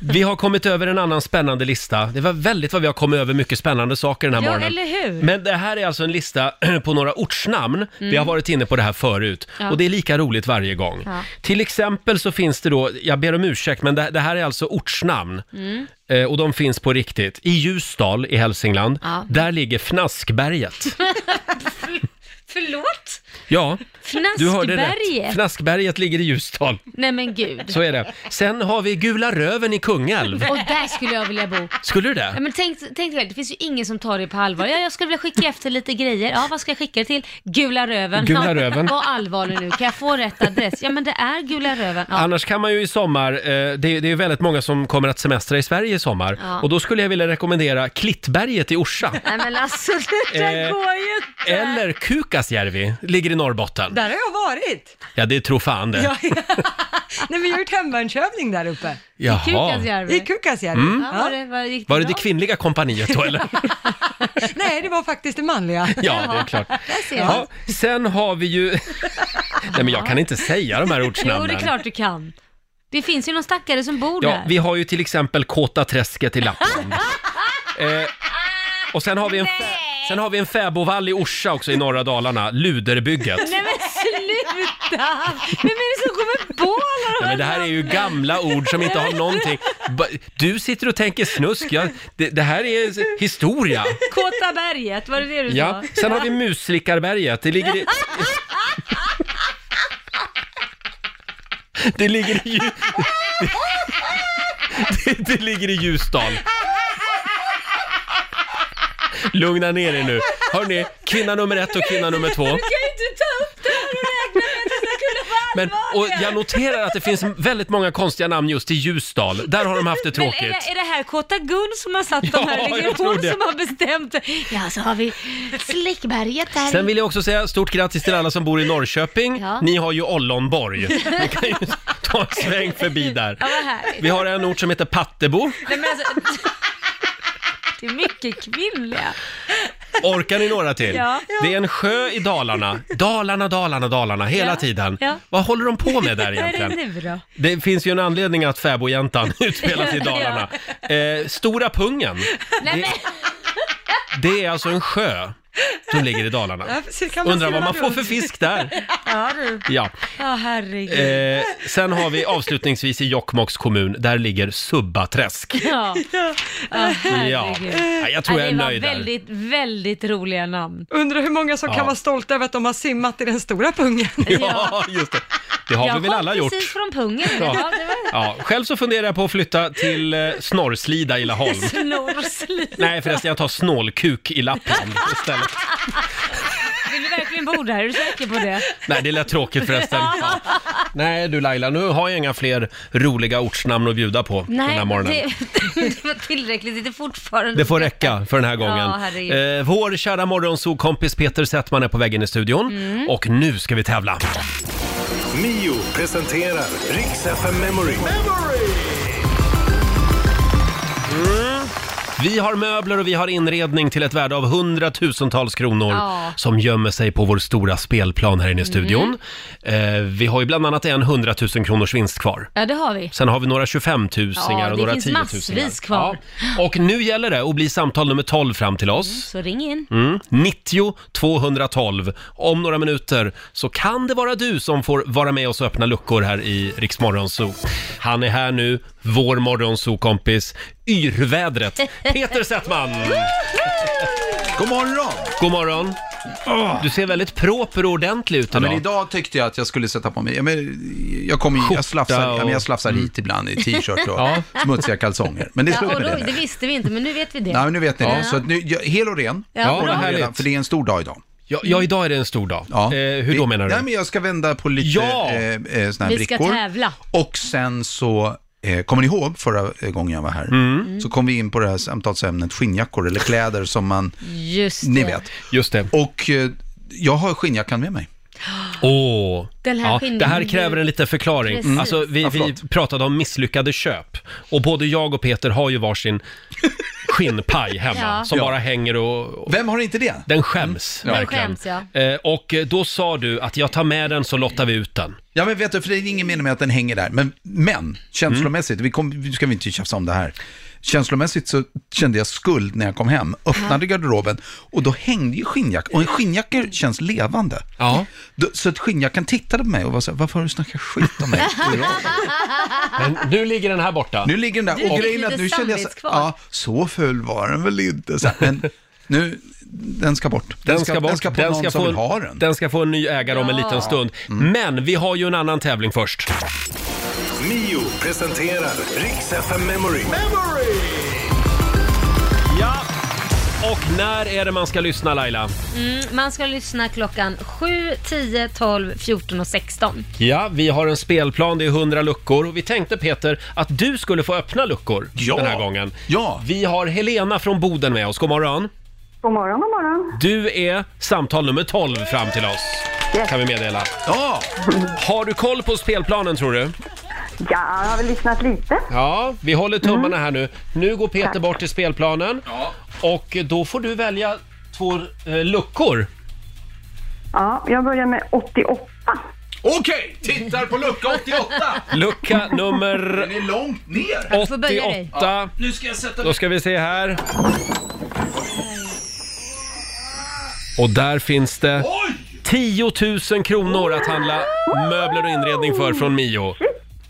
Speaker 1: vi har kommit över en annan spännande lista. Det var väldigt vad vi har kommit över mycket spännande saker den här
Speaker 3: ja
Speaker 1: morgonen.
Speaker 3: eller hur?
Speaker 1: Men det här är alltså en lista på några ortsnamn. Vi har varit inne på det här förut
Speaker 3: Mm. Ja.
Speaker 1: och det är lika roligt varje gång.
Speaker 3: Ja.
Speaker 1: Till exempel så finns det då, jag ber om ursäkt, men det, det här är alltså ortsnamn.
Speaker 3: Mm.
Speaker 1: Eh, och de finns på riktigt. I Ljusdal i Hälsingland,
Speaker 3: Ja.
Speaker 1: där ligger Fnaskberget.
Speaker 3: Förlåt?
Speaker 1: Ja, du hörde rätt.
Speaker 3: Fnaskberget?
Speaker 1: Fnaskberget ligger i Ljusdal,
Speaker 3: Nej men gud.
Speaker 1: så är det. Sen har vi Gula Röven i Kungälv.
Speaker 3: Och där skulle jag vilja bo.
Speaker 1: Skulle du
Speaker 3: Ja,
Speaker 1: det?
Speaker 3: men tänk, tänk väl, det finns ju ingen som tar det på allvar. Ja, jag skulle vilja skicka efter lite grejer. Ja, vad ska jag skicka det till? Gula Röven.
Speaker 1: Gula
Speaker 3: Ja,
Speaker 1: Röven.
Speaker 3: Var allvarlig nu, kan jag få rätt adress? Ja, men det är Gula Röven. Ja.
Speaker 1: Annars kan man ju i sommar, eh, det, det är väldigt många som kommer att semestra i Sverige i sommar.
Speaker 3: Ja.
Speaker 1: Och då skulle jag vilja rekommendera Klittberget i Orsa.
Speaker 3: Nej men alltså, det
Speaker 1: Eh,
Speaker 3: där går ju inte.
Speaker 1: Eller Kukasjärvi, ligger i Norrbotten.
Speaker 2: Där har jag varit.
Speaker 1: Ja, det tror fan det.
Speaker 2: Ja, Nej, men jag har gjort hemvärnsövning där uppe.
Speaker 1: Jaha.
Speaker 3: Kukasjärvi.
Speaker 2: I Kukkasjärvi.
Speaker 1: Mm.
Speaker 3: Ja, var det, var det, gick
Speaker 1: Var det det
Speaker 3: bra?
Speaker 1: kvinnliga kompaniet då eller?
Speaker 2: Nej, det var faktiskt det manliga.
Speaker 1: Ja, det är klart.
Speaker 3: Där ser
Speaker 1: Ja,
Speaker 3: jag.
Speaker 1: sen har vi ju... Nej men jag kan inte säga de här ortsnamnen.
Speaker 3: Jo, det är klart du kan. Det finns ju någon stackare som bor
Speaker 1: Ja,
Speaker 3: där.
Speaker 1: vi har ju till exempel Kåta träsket i Lappland. eh, och sen har vi en, fä- sen har vi en fäbodvall i Orsa också i norra Dalarna, Luderbygget.
Speaker 3: Nej men sluta! Vem är det som kommer på alla de
Speaker 1: Nej,
Speaker 3: här
Speaker 1: men det här är ju gamla ord som inte har någonting. Ba- Du sitter och tänker snusk. Ja, det, det här är historia.
Speaker 3: Kåta berget, var det det du
Speaker 1: Ja.
Speaker 3: sa?
Speaker 1: Sen har vi Muslickarberget. Det ligger i... Det ligger i... Lju- Det, det ligger i Ljusdal. Lugna ner er nu. Hörni, kvinna nummer ett och kvinna nummer två.
Speaker 3: Du kan ju inte ta upp det här och räkna med att det ska kunna vara
Speaker 1: Men, och jag noterar att det finns väldigt många konstiga namn just i Ljusdal. Där har de haft det tråkigt.
Speaker 3: Men är, det, är det här Kåta Gun som har satt de här?
Speaker 1: Ja,
Speaker 3: Eller är
Speaker 1: jag
Speaker 3: det
Speaker 1: tror
Speaker 3: hon
Speaker 1: det.
Speaker 3: som har bestämt det? Ja, så har vi Slickberget där.
Speaker 1: Sen vill jag också säga stort grattis till alla som bor i Norrköping.
Speaker 3: Ja.
Speaker 1: Ni har ju Ollonborg. Ni kan ju ta en sväng förbi där.
Speaker 3: Ja, vad härligt.
Speaker 1: Vi har en ort som heter Pattebo.
Speaker 3: Nej, men alltså, det är mycket kvinnliga.
Speaker 1: Orkar ni några till?
Speaker 3: Ja.
Speaker 1: Det är en sjö i Dalarna. Dalarna, Dalarna, Dalarna hela
Speaker 3: Ja.
Speaker 1: tiden.
Speaker 3: Ja.
Speaker 1: Vad håller de på med där
Speaker 3: Vad är det
Speaker 1: egentligen?
Speaker 3: nu då?
Speaker 1: Det finns ju en anledning att fäbodjäntan utspelas i Dalarna. Eh, Stora Pungen,
Speaker 3: Nej, men,
Speaker 1: det är alltså en sjö som ligger i Dalarna.
Speaker 2: Ja, precis, kan
Speaker 1: Undrar
Speaker 2: skriva
Speaker 1: vad man får
Speaker 2: runt?
Speaker 1: för fisk där?
Speaker 3: ja du.
Speaker 1: Ja.
Speaker 3: Ja, herregud.
Speaker 1: Eh, sen har vi avslutningsvis i Jokkmokks kommun, där ligger Subbaträsk.
Speaker 3: Ja, ja
Speaker 1: Ja.
Speaker 3: herregud.
Speaker 1: Ja, jag tror jag är
Speaker 3: det var
Speaker 1: nöjd där.
Speaker 3: väldigt, väldigt roliga namn.
Speaker 2: Undrar hur många som
Speaker 1: Ja.
Speaker 2: kan vara stolta över att de har simmat i den stora pungen.
Speaker 1: Ja, just det. Det har
Speaker 3: jag
Speaker 1: vi väl
Speaker 3: kom
Speaker 1: alla gjort.
Speaker 3: precis från pungen.
Speaker 1: Ja.
Speaker 3: Ja. det var
Speaker 1: Ja, själv så funderar jag på att flytta till eh, Snorrslida i Laholm.
Speaker 3: snorslip.
Speaker 1: Nej förresten, jag tar Snålkuk i Lappland istället.
Speaker 3: Vill du verkligen bo där? Är du säker på det?
Speaker 1: Nej, det lät tråkigt förresten. Ja. Nej du Laila, nu har jag inga fler roliga ortsnamn att bjuda på den här morgonen.
Speaker 3: det, det var tillräckligt. Det är fortfarande...
Speaker 1: Det får räcka för den här gången.
Speaker 3: Ja, herregud.
Speaker 1: eh, vår kära morgonsokompis Peter Settman är på väggen i studion.
Speaker 3: Mm.
Speaker 1: Och nu ska vi tävla.
Speaker 4: Mio presenterar Rix FM Memory.
Speaker 1: Vi har möbler och vi har inredning till ett värde av hundratusentals kronor
Speaker 3: Ja. Mm.
Speaker 1: som gömmer sig på vår stora spelplan här inne i studion. Eh, vi har ju bland annat en hundratusen kronors vinst kvar.
Speaker 3: Ja, det har vi.
Speaker 1: Sen har vi några 25-tusingar
Speaker 3: Ja,
Speaker 1: och
Speaker 3: det
Speaker 1: några
Speaker 3: finns
Speaker 1: 10-tusingar.
Speaker 3: massvis kvar.
Speaker 1: Ja. Och nu gäller det att bli samtal nummer 12 fram till oss.
Speaker 3: Så ring in.
Speaker 1: Mm. 90 212. Om några minuter så kan det vara du som får vara med oss och öppna luckor här i Rix Morgonzoo. Han är här nu, vår Morgonzoo-kompis, yrvädret, Peter Settman!
Speaker 9: God morgon!
Speaker 1: God morgon! Du ser väldigt proper och ordentlig ut
Speaker 9: Ja,
Speaker 1: idag.
Speaker 9: men idag tyckte jag att jag skulle sätta på mig, ja, men jag kommer ju, jag slafsar,
Speaker 1: och-
Speaker 9: ja, men jag slafsar hit ibland i t-shirt och
Speaker 1: Ja.
Speaker 9: smutsiga kalsonger. Men det
Speaker 3: Ja,
Speaker 9: slipper
Speaker 3: och
Speaker 9: det
Speaker 3: då,
Speaker 9: nu.
Speaker 3: det visste vi inte, men nu vet vi det.
Speaker 9: Nej, men nu vet ni det. Så att nu, jag, hel och ren.
Speaker 3: Ja,
Speaker 1: vad
Speaker 9: Ordning och reda,
Speaker 1: härligt.
Speaker 9: För det är en stor dag idag.
Speaker 1: Ja, ja, idag är det en stor dag.
Speaker 9: Ja.
Speaker 1: Eh, hur då
Speaker 9: Vi-
Speaker 1: menar du?
Speaker 9: Nej, men jag ska vända på lite
Speaker 1: Ja!
Speaker 9: eh, eh, såna här
Speaker 3: Vi ska
Speaker 9: brickor.
Speaker 3: tävla.
Speaker 9: Och sen så, eh, kommer ni ihåg förra gången jag var här? Så kom vi in på det här samtalsämnet skinnjackor eller kläder som man,
Speaker 3: Just det.
Speaker 9: ni vet.
Speaker 1: Just det.
Speaker 9: Och eh, jag har skinnjackan med mig.
Speaker 1: Åh,
Speaker 3: Den här
Speaker 1: ja,
Speaker 3: skinnen-
Speaker 1: det här kräver en liten förklaring.
Speaker 3: Precis.
Speaker 1: Alltså, vi,
Speaker 9: Ja,
Speaker 1: vi
Speaker 9: förlåt.
Speaker 1: pratade om misslyckade köp och både jag och Peter har ju varsin skinnpaj hemma
Speaker 3: Ja.
Speaker 1: som
Speaker 9: Ja. Mm.
Speaker 1: bara hänger och, och
Speaker 9: Vem har inte det?
Speaker 1: den skäms.
Speaker 3: Den
Speaker 1: verkligen.
Speaker 3: skäms, ja.
Speaker 1: Eh, och då sa du att jag tar med den så lottar vi ut den.
Speaker 9: Ja, men vet du, för det är ingen mening med att den hänger där. Men, men känslomässigt, vi kom, nu ska vi inte tjafsa om det här. Känslomässigt så kände jag skuld när jag kom hem, öppnade garderoben och då hängde ju skinnjackan. Och en skinnjacka känns levande.
Speaker 1: Ja.
Speaker 9: Då- Så att skinnjackan tittade på mig och var så här, varför har du snackat skit om mig? i radion?"
Speaker 1: Men nu ligger den här borta.
Speaker 9: nu ligger den
Speaker 3: Du
Speaker 9: där och
Speaker 3: fick
Speaker 9: grejen är att
Speaker 3: lite
Speaker 9: nu kände jag så,
Speaker 3: samvetskval.
Speaker 9: ja, så ful var den väl inte. Så här, men nu, den ska bort.
Speaker 1: Den ska, bort.
Speaker 9: Den ska på någon som
Speaker 1: få
Speaker 9: vill
Speaker 1: en,
Speaker 9: ha den.
Speaker 1: den Mm. ska få en ny ägare om en liten stund. Men vi har ju en annan tävling först.
Speaker 4: Mio presenterar Riks FM Memory.
Speaker 1: Ja. Och när är det man ska lyssna Laila?
Speaker 3: Mm, man ska lyssna klockan 7, 10, 12, 14 och 16.
Speaker 1: Ja, vi har en spelplan, det är 100 luckor och vi tänkte Peter att du skulle få öppna luckor
Speaker 9: Ja.
Speaker 1: den här gången.
Speaker 9: Ja.
Speaker 1: Vi har Helena från Boden med oss, god morgon.
Speaker 7: God morgon, god morgon.
Speaker 1: Du är samtal nummer 12 fram till oss, kan vi meddela.
Speaker 9: Ja,
Speaker 1: Har du koll på spelplanen tror du?
Speaker 7: Ja, jag har väl lyssnat lite. Mm.
Speaker 1: Ja, vi håller tummarna här nu. Nu går Peter bort till spelplanen och då får du välja två eh, luckor.
Speaker 7: Ja, jag börjar med 88.
Speaker 9: okej, tittar på lucka 88.
Speaker 1: Lucka nummer
Speaker 9: Den är långt ner.
Speaker 3: får börja dig.
Speaker 1: 88.
Speaker 8: Nu ska jag sätta
Speaker 1: Då ska vi se här. Och där finns det
Speaker 9: Oj!
Speaker 1: 10 000 kronor att handla möbler och inredning för från Mio.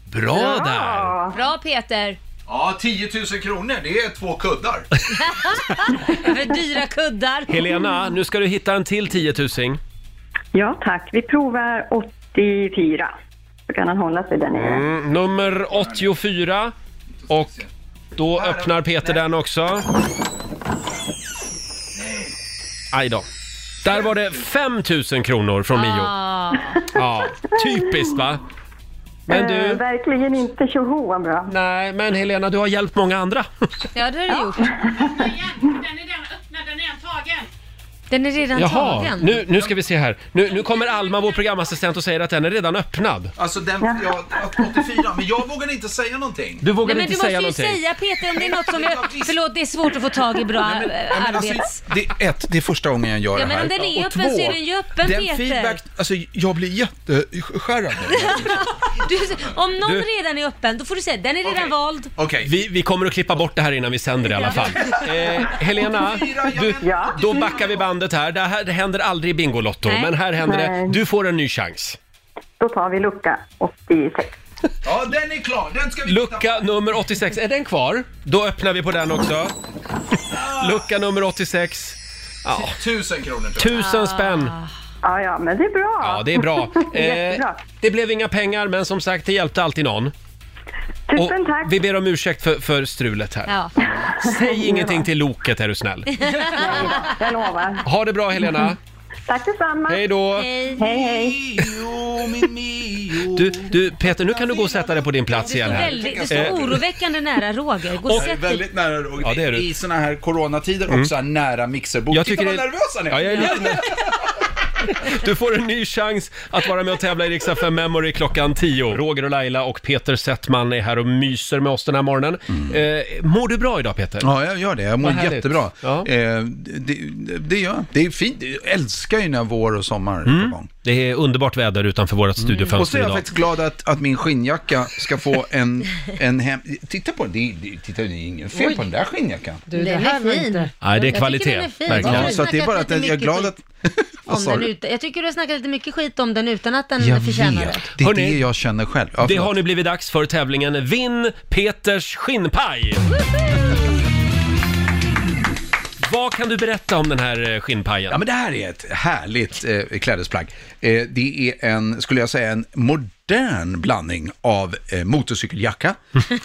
Speaker 1: Bra där!
Speaker 3: Bra Peter!
Speaker 9: Ja, 10 000 kronor, det är två kuddar.
Speaker 3: För dyra kuddar.
Speaker 1: Helena, nu ska du hitta en till 10 000.
Speaker 7: Ja, tack. Vi provar 84. Så kan han hålla sig där nere.
Speaker 1: Mm, nummer 84. Och då öppnar Peter den också. Aj då. Där var det 5 000 kronor från Mio.
Speaker 3: Ah,
Speaker 1: Ja, typiskt va? Men
Speaker 7: Eh,
Speaker 1: du...
Speaker 7: verkligen inte tjoho vad bra.
Speaker 1: Nej, men Helena, du har hjälpt många andra.
Speaker 3: ja, det har du gjort.
Speaker 10: Den är redan öppnad, den är redan tagen.
Speaker 3: Den är redan
Speaker 1: Jaha,
Speaker 3: tagen.
Speaker 1: nu, nu ska vi se här. Nu, nu kommer Alma, vår programassistent, och säger att den är redan öppnad.
Speaker 9: Alltså den, ja, 84, men jag vågar inte säga någonting.
Speaker 1: Du vågar
Speaker 3: Nej, men
Speaker 1: inte
Speaker 3: du måste ju
Speaker 1: säga
Speaker 3: säga
Speaker 1: någonting.
Speaker 3: Peter om det är något som
Speaker 9: Ja,
Speaker 3: är...
Speaker 9: visst.
Speaker 3: Förlåt, det är svårt att få tag i bra
Speaker 9: Ja,
Speaker 3: eh,
Speaker 9: men alltså,
Speaker 3: arbets...
Speaker 9: det, är ett, det är första gången jag gör
Speaker 3: Ja,
Speaker 9: det
Speaker 3: men
Speaker 9: här.
Speaker 3: om den är
Speaker 9: Och
Speaker 3: öppen så är den ju öppen,
Speaker 9: den
Speaker 3: Peter.
Speaker 9: Feedback, alltså, jag blir jätteskärrad nu.
Speaker 3: Du, om någon
Speaker 1: Du-
Speaker 3: redan är öppen, då får du säga den är redan
Speaker 9: Okej.
Speaker 3: vald.
Speaker 9: Okej.
Speaker 1: Vi, vi kommer att klippa bort det här innan vi sänder i alla fall. Eh, Helena, du,
Speaker 7: Ja.
Speaker 1: då backar vi bandet här. Det här det händer aldrig i Bingolotto,
Speaker 3: Nej.
Speaker 1: men här händer det.
Speaker 7: Nej.
Speaker 1: Du får en ny chans.
Speaker 7: Då tar vi lucka 86.
Speaker 9: Ja, den är klar. Den ska vi
Speaker 1: Lucka nummer 86, är den kvar? Då öppnar vi på den också. Lucka nummer 86,
Speaker 9: Tusen kronor.
Speaker 1: tusen spänn.
Speaker 7: Ja, ja, men det är bra.
Speaker 1: Ja, det är bra. Eh,
Speaker 7: Jättebra.
Speaker 1: det blev inga pengar, men som sagt, det hjälpte alltid någon. Och
Speaker 7: Tusen tack.
Speaker 1: vi ber om ursäkt för, för strulet här.
Speaker 3: Ja.
Speaker 1: Säg ingenting till Loket är du snäll.
Speaker 7: Jag lovar.
Speaker 1: Ha det bra Helena.
Speaker 7: Tack detsamma.
Speaker 1: Hej då.
Speaker 3: Hej.
Speaker 7: hej. hej.
Speaker 9: Mio, min Mio.
Speaker 1: Du, du Peter, nu kan du gå och sätta dig på din plats igen här.
Speaker 3: Väldigt, du står
Speaker 1: Eh,
Speaker 3: oroväckande nära Roger. Gå och sätt dig.
Speaker 9: Väldigt nära Roger.
Speaker 1: Ja, det är du.
Speaker 9: I såna här coronatider också, nära mixerbord.
Speaker 1: Jag
Speaker 9: Jag
Speaker 1: tycker
Speaker 9: Titta vad
Speaker 1: det-
Speaker 9: nervös han är.
Speaker 1: Ja, jag är lite nervös. Du får en ny chans att vara med och tävla i Rix FM Memory klockan 10. Roger och Laila och Peter Settman är här och myser med oss den här morgonen. Eh, mår du bra idag Peter?
Speaker 9: Mm. Ja, jag gör det. Jag mår
Speaker 1: Vad härligt.
Speaker 9: jättebra.
Speaker 1: Ja.
Speaker 9: Eh, det, det gör jag. Det är fint. Jag älskar ju när vår och sommar är
Speaker 1: Mm.
Speaker 9: på gång.
Speaker 1: Det är underbart väder utanför vårt
Speaker 9: Mm. Och så
Speaker 1: studiofönster
Speaker 9: är jag
Speaker 1: idag.
Speaker 9: faktiskt glad att, att min skinnjacka ska få en, en hem... Titta på den. Det, det, titta, det är ingen fel på den där skinnjackan.
Speaker 3: Den är fin.
Speaker 1: Nej, det är
Speaker 3: Jag tycker
Speaker 1: kvalitet.
Speaker 3: den är fin.
Speaker 1: verkligen.
Speaker 3: Ja.
Speaker 9: Ja, så att det är bara att jag är glad att... Vad
Speaker 3: Om
Speaker 9: sa
Speaker 3: den
Speaker 9: du?
Speaker 3: ut- jag tycker du har snackat lite mycket skit om den utan att den
Speaker 9: Jag
Speaker 3: förtjänar
Speaker 9: vet.
Speaker 3: det.
Speaker 9: Det är
Speaker 1: Hörrni,
Speaker 9: det jag känner själv. Ja,
Speaker 1: Det
Speaker 9: förlåt.
Speaker 1: har nu blivit dags för tävlingen Vinn Peters skinnpaj! Vad kan du berätta om den här eh, skinnpajen?
Speaker 9: Ja, men det här är ett härligt eh, klädesplagg. Eh, det är en, skulle jag säga, en modern blandning av eh, motorcykeljacka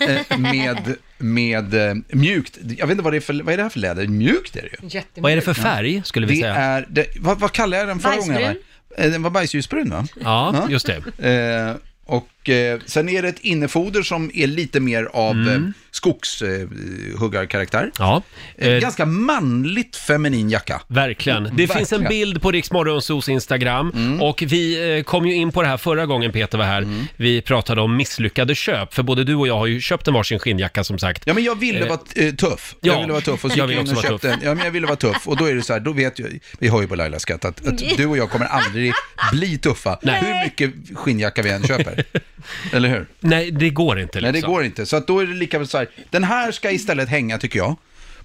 Speaker 9: eh, med, med eh, mjukt, jag vet inte vad det är för, vad är det här för läder? Mjukt är det ju.
Speaker 1: Vad är det för färg, skulle vi
Speaker 9: Det
Speaker 1: säga?
Speaker 9: är, det, vad, vad kallade jag den förra gången? va? Eh, Den var bajsljusbrun va?
Speaker 1: Ja, just det.
Speaker 9: Eh, och Och eh, sen är det ett innefoder som är lite mer av
Speaker 1: Mm.
Speaker 9: eh, skogshuggarkaraktär.
Speaker 1: Ja. Eh,
Speaker 9: Ganska manligt feminin jacka.
Speaker 1: Verkligen. Det finns en bild på Riksmorgonsos Instagram och vi eh, kom ju in på det här förra gången Peter var här. Vi pratade om misslyckade köp, för både du och jag har ju köpt en varsin skinnjacka som sagt.
Speaker 9: Ja, men jag ville vara eh, tuff.
Speaker 1: Ja,
Speaker 9: jag ville vara tuff och så
Speaker 1: jag
Speaker 9: gick
Speaker 1: vill
Speaker 9: jag in
Speaker 1: också
Speaker 9: och
Speaker 1: vara
Speaker 9: köpte
Speaker 1: tuff.
Speaker 9: en. Ja, men jag ville vara tuff. Och då är det så här, då vet jag, vi har ju på Lailas skatt att, att du och jag kommer aldrig bli tuffa. Hur mycket skinnjacka vi än köper. Eller hur?
Speaker 1: Nej, det går inte.
Speaker 9: Nej, det
Speaker 1: liksom.
Speaker 9: går inte. Så att då är det lika väl så här, den här ska istället hänga tycker jag,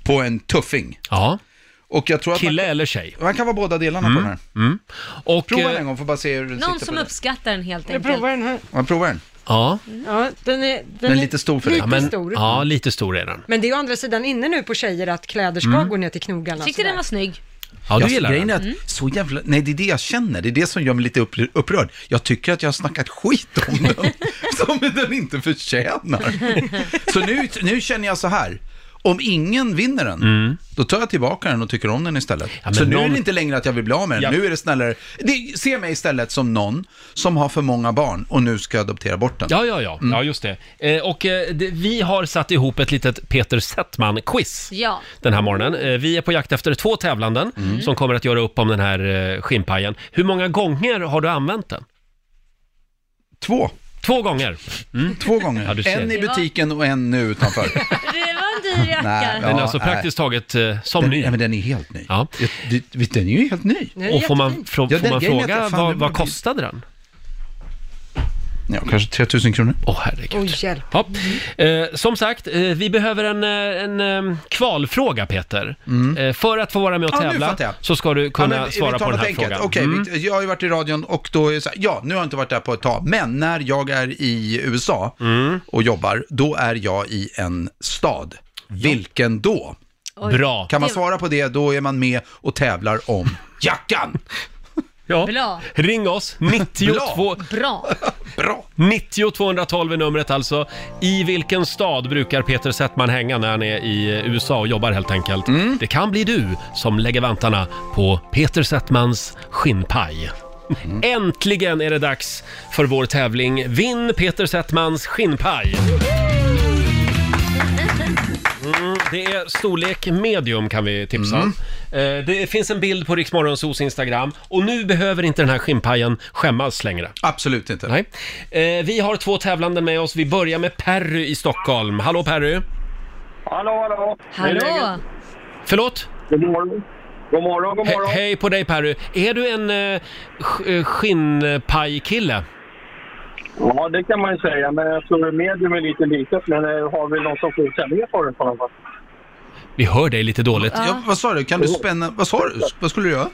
Speaker 9: på en tuffing.
Speaker 1: Ja.
Speaker 9: Och jag tror att
Speaker 1: Kille
Speaker 9: man,
Speaker 1: eller tjej?
Speaker 9: Man kan vara båda delarna på den här.
Speaker 1: Mm. Och,
Speaker 9: Prova den
Speaker 1: eh,
Speaker 9: en gång, får bara se hur den
Speaker 3: Någon
Speaker 9: sitter
Speaker 3: som
Speaker 9: på
Speaker 3: uppskattar den helt
Speaker 11: Jag
Speaker 3: enkelt.
Speaker 11: provar den här.
Speaker 9: den. Ja, prova den.
Speaker 1: Ja.
Speaker 11: Ja, den är, den
Speaker 9: Den är lite stor för dig.
Speaker 11: lite
Speaker 1: Ja, men,
Speaker 11: stor.
Speaker 1: ja, lite stor är den.
Speaker 2: Men det är ju å andra sidan inne nu på tjejer att kläder ska
Speaker 9: Mm.
Speaker 2: gå ner till knogarna.
Speaker 3: Tyckte den var snygg.
Speaker 1: Ja,
Speaker 9: jag,
Speaker 1: du gillar
Speaker 9: grejen
Speaker 1: den.
Speaker 9: är
Speaker 3: Mm.
Speaker 9: att, så jävla, nej det är det jag känner, det är det som gör mig lite upp, upprörd. Jag tycker att jag har snackat skit om den, som den inte förtjänar. Så nu, nu känner jag så här, om ingen vinner den, då tar jag tillbaka den och tycker om den istället.
Speaker 1: men
Speaker 9: så nu är
Speaker 1: någon-
Speaker 9: det inte längre att jag vill bli av med den,
Speaker 1: Ja.
Speaker 9: nu är det snällare, det, se mig istället som någon som har för många barn och nu ska jag adoptera bort den.
Speaker 1: Ja, ja, ja. ja just det. Eh, och eh, det, vi har satt ihop ett litet Peter Settman-quiz.
Speaker 3: Ja.
Speaker 1: den här morgonen. Eh, Vi är på jakt efter två tävlanden
Speaker 9: Mm.
Speaker 1: som kommer att göra upp om den här eh, skinnpajen. Hur många gånger har du använt den?
Speaker 9: Två.
Speaker 1: Två gånger. Mm.
Speaker 9: Två gånger.
Speaker 1: Ja, du ser.
Speaker 9: en i butiken och en nu utanför.
Speaker 3: Det var en dyr jacka.
Speaker 9: Nej,
Speaker 1: Den är
Speaker 9: ja,
Speaker 1: alltså
Speaker 9: nej.
Speaker 1: praktiskt taget eh, som
Speaker 9: Den-
Speaker 1: ny.
Speaker 9: ja, men den är helt ny.
Speaker 1: Ja.
Speaker 9: Den är ju helt ny.
Speaker 1: Och får man, frå,
Speaker 9: Ja,
Speaker 1: får
Speaker 9: den
Speaker 1: man
Speaker 9: grejen är
Speaker 1: fråga,
Speaker 9: att fan,
Speaker 1: vad,
Speaker 9: det
Speaker 1: vad
Speaker 9: blir-
Speaker 1: kostade den?
Speaker 9: Ja, kanske 3 000 kronor.
Speaker 1: Åh, herregud.
Speaker 2: Oj, hjälp.
Speaker 1: Ja. Eh, som sagt, eh, vi behöver en, eh, en eh, kvalfråga Peter. Eh, för att få vara med och
Speaker 9: Mm. Ja, nu
Speaker 1: tävla
Speaker 9: fattar jag.
Speaker 1: så ska du kunna
Speaker 9: Ja, men vi- vi
Speaker 1: svara
Speaker 9: tar
Speaker 1: på den
Speaker 9: något
Speaker 1: här
Speaker 9: enkelt.
Speaker 1: frågan.
Speaker 9: Okej,
Speaker 1: Mm.
Speaker 9: vi- jag har ju varit i radion och då är det så här, ja, nu har jag inte varit där på ett tag, men när jag är i USA och jobbar, då är jag i en stad. Vilken då?
Speaker 3: Oj.
Speaker 1: Mm. Bra.
Speaker 9: Kan man
Speaker 3: Det-
Speaker 9: svara på det, då är man med och tävlar om jackan.
Speaker 1: Ja.
Speaker 3: Bra.
Speaker 1: Ring oss, 92...
Speaker 3: Bra.
Speaker 9: Bra!
Speaker 1: 90 212 är numret alltså. I vilken stad brukar Peter Settman hänga när han är i USA och jobbar helt enkelt? Det kan bli du som lägger vantarna på Peter Settmans skinnpaj. Äntligen är det dags för vår tävling Vinn Peter Settmans skinnpaj! Mm, det är storlek medium kan vi tipsa om. Eh, Det finns en bild på Riksmorgonsos Instagram och nu behöver inte den här skinnpajen skämmas längre.
Speaker 9: Absolut inte.
Speaker 1: Nej. Eh, vi har två tävlande med oss. Vi börjar med Perry i Stockholm. Hallå Perry!
Speaker 12: Hallå, hallå!
Speaker 3: Hallå!
Speaker 1: Förlåt?
Speaker 12: God morgon! God morgon, god
Speaker 1: He-
Speaker 12: morgon!
Speaker 1: hej på dig Perry! Är du en eh, sk- eh, skinnpajkille?
Speaker 12: Ja, det kan man ju säga, men jag tror medium är lite litet. Men eh, har vi någon som får sändningar på den på något sätt?
Speaker 1: Vi hör dig lite dåligt.
Speaker 9: Ja, vad sa du, kan du spänna, vad sa du, vad skulle du göra?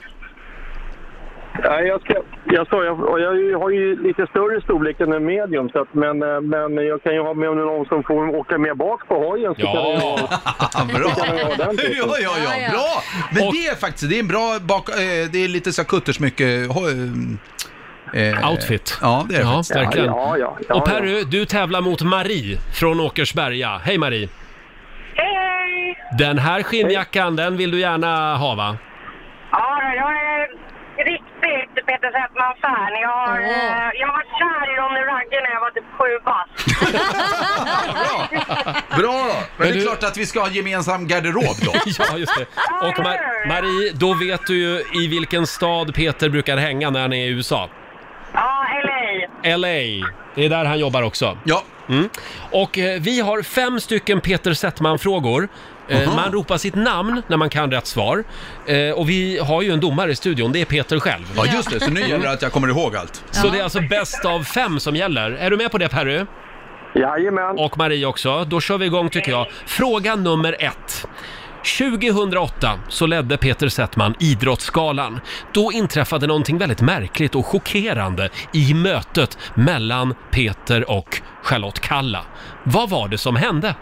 Speaker 12: Nej, jag, ska, jag, ska, jag, och jag har ju lite större storlek än en medium, så att, men, eh, men jag kan ju ha med om det är någon som får åka med bak på hojen. Så kan jag, ju ha-
Speaker 9: Ah, bra!
Speaker 12: kan jag ha den
Speaker 9: Ja,
Speaker 12: typen.
Speaker 9: ja, ja,
Speaker 3: Ja, ja.
Speaker 9: bra! Men det är faktiskt, det är en bra bak, eh, det är lite så här kuttersmycke, ho- eh,
Speaker 1: Outfit.
Speaker 9: Ja, det är det
Speaker 1: Ja,
Speaker 9: faktiskt.
Speaker 1: verkligen.
Speaker 12: Ja, ja, ja,
Speaker 1: Och Perry, du tävlar mot Marie från Åkersberga. Hej Marie!
Speaker 10: Hej!
Speaker 1: Den här skinnjackan, den vill du gärna ha va?
Speaker 10: Ja, jag är riktigt Peter Settman-fan. Jag, har,
Speaker 3: Åh.
Speaker 10: eh, jag var kär i Ronny Ragge när jag var typ sju bast.
Speaker 9: Bra, bra då. Men, det är
Speaker 1: du-
Speaker 9: klart att vi ska ha en gemensam garderob då.
Speaker 1: Ja, just det. Och Mar- Marie, då vet du ju i vilken stad Peter brukar hänga när han är i USA.
Speaker 10: Ja, LA.
Speaker 1: LA. Det är där han jobbar också.
Speaker 9: Ja,
Speaker 1: Mm. Och eh, vi har fem stycken Peter Settman-frågor. Eh,
Speaker 9: Aha.
Speaker 1: man ropar sitt namn när man kan rätt svar. Eh, och vi har ju en domare i studion, det är Peter själv.
Speaker 9: ja just det. Så nu gäller det att jag kommer ihåg allt.
Speaker 1: Så det är alltså bäst av fem som gäller. Är du med på det Perry?
Speaker 12: Jajamän!
Speaker 1: Och Marie också. Då kör vi igång tycker jag. Fråga nummer ett. 2008 så ledde Peter Settman Idrottsgalan. Då inträffade någonting väldigt märkligt och chockerande i mötet mellan Peter och Charlotte Kalla. Vad var det som hände?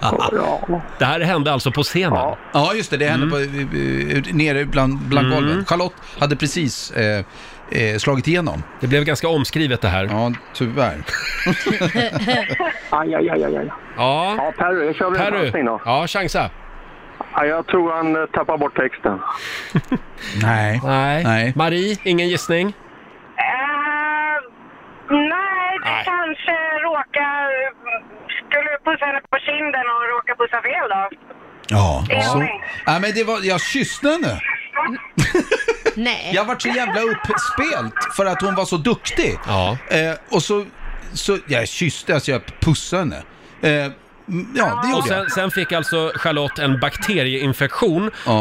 Speaker 12: Ja.
Speaker 1: Det här hände alltså på scenen.
Speaker 12: Ja.
Speaker 9: Ja, just det. Det hände
Speaker 1: Mm.
Speaker 9: på, eh, eh, nere bland, bland golven. Charlotte hade precis eh, eh, slagit igenom.
Speaker 1: Det blev ganska omskrivet det här.
Speaker 9: Ja, tyvärr.
Speaker 12: Aj, aj, aj, aj, aj.
Speaker 1: Ja,
Speaker 12: Ja, Perry, jag kör väl en chansning
Speaker 1: Perry.
Speaker 12: då.
Speaker 1: Ja, chansa.
Speaker 12: Ja, jag tror han eh, tappar bort texten.
Speaker 9: Nej.
Speaker 1: Nej.
Speaker 9: Nej.
Speaker 1: Marie, ingen gissning?
Speaker 10: pussa henne på kinden och råkar pussa fel då.
Speaker 9: Ja,
Speaker 10: Ja.
Speaker 9: så. Nej, men det var, jag kysste henne.
Speaker 3: Nej.
Speaker 9: Jag vart så jävla uppspelt för att hon var så duktig. Eh, och så, så, jag kysste, alltså jag pussade henne. Eh, m- ja, det
Speaker 1: och
Speaker 9: gjorde
Speaker 1: sen, sen fick alltså Charlotte en bakterieinfektion eh,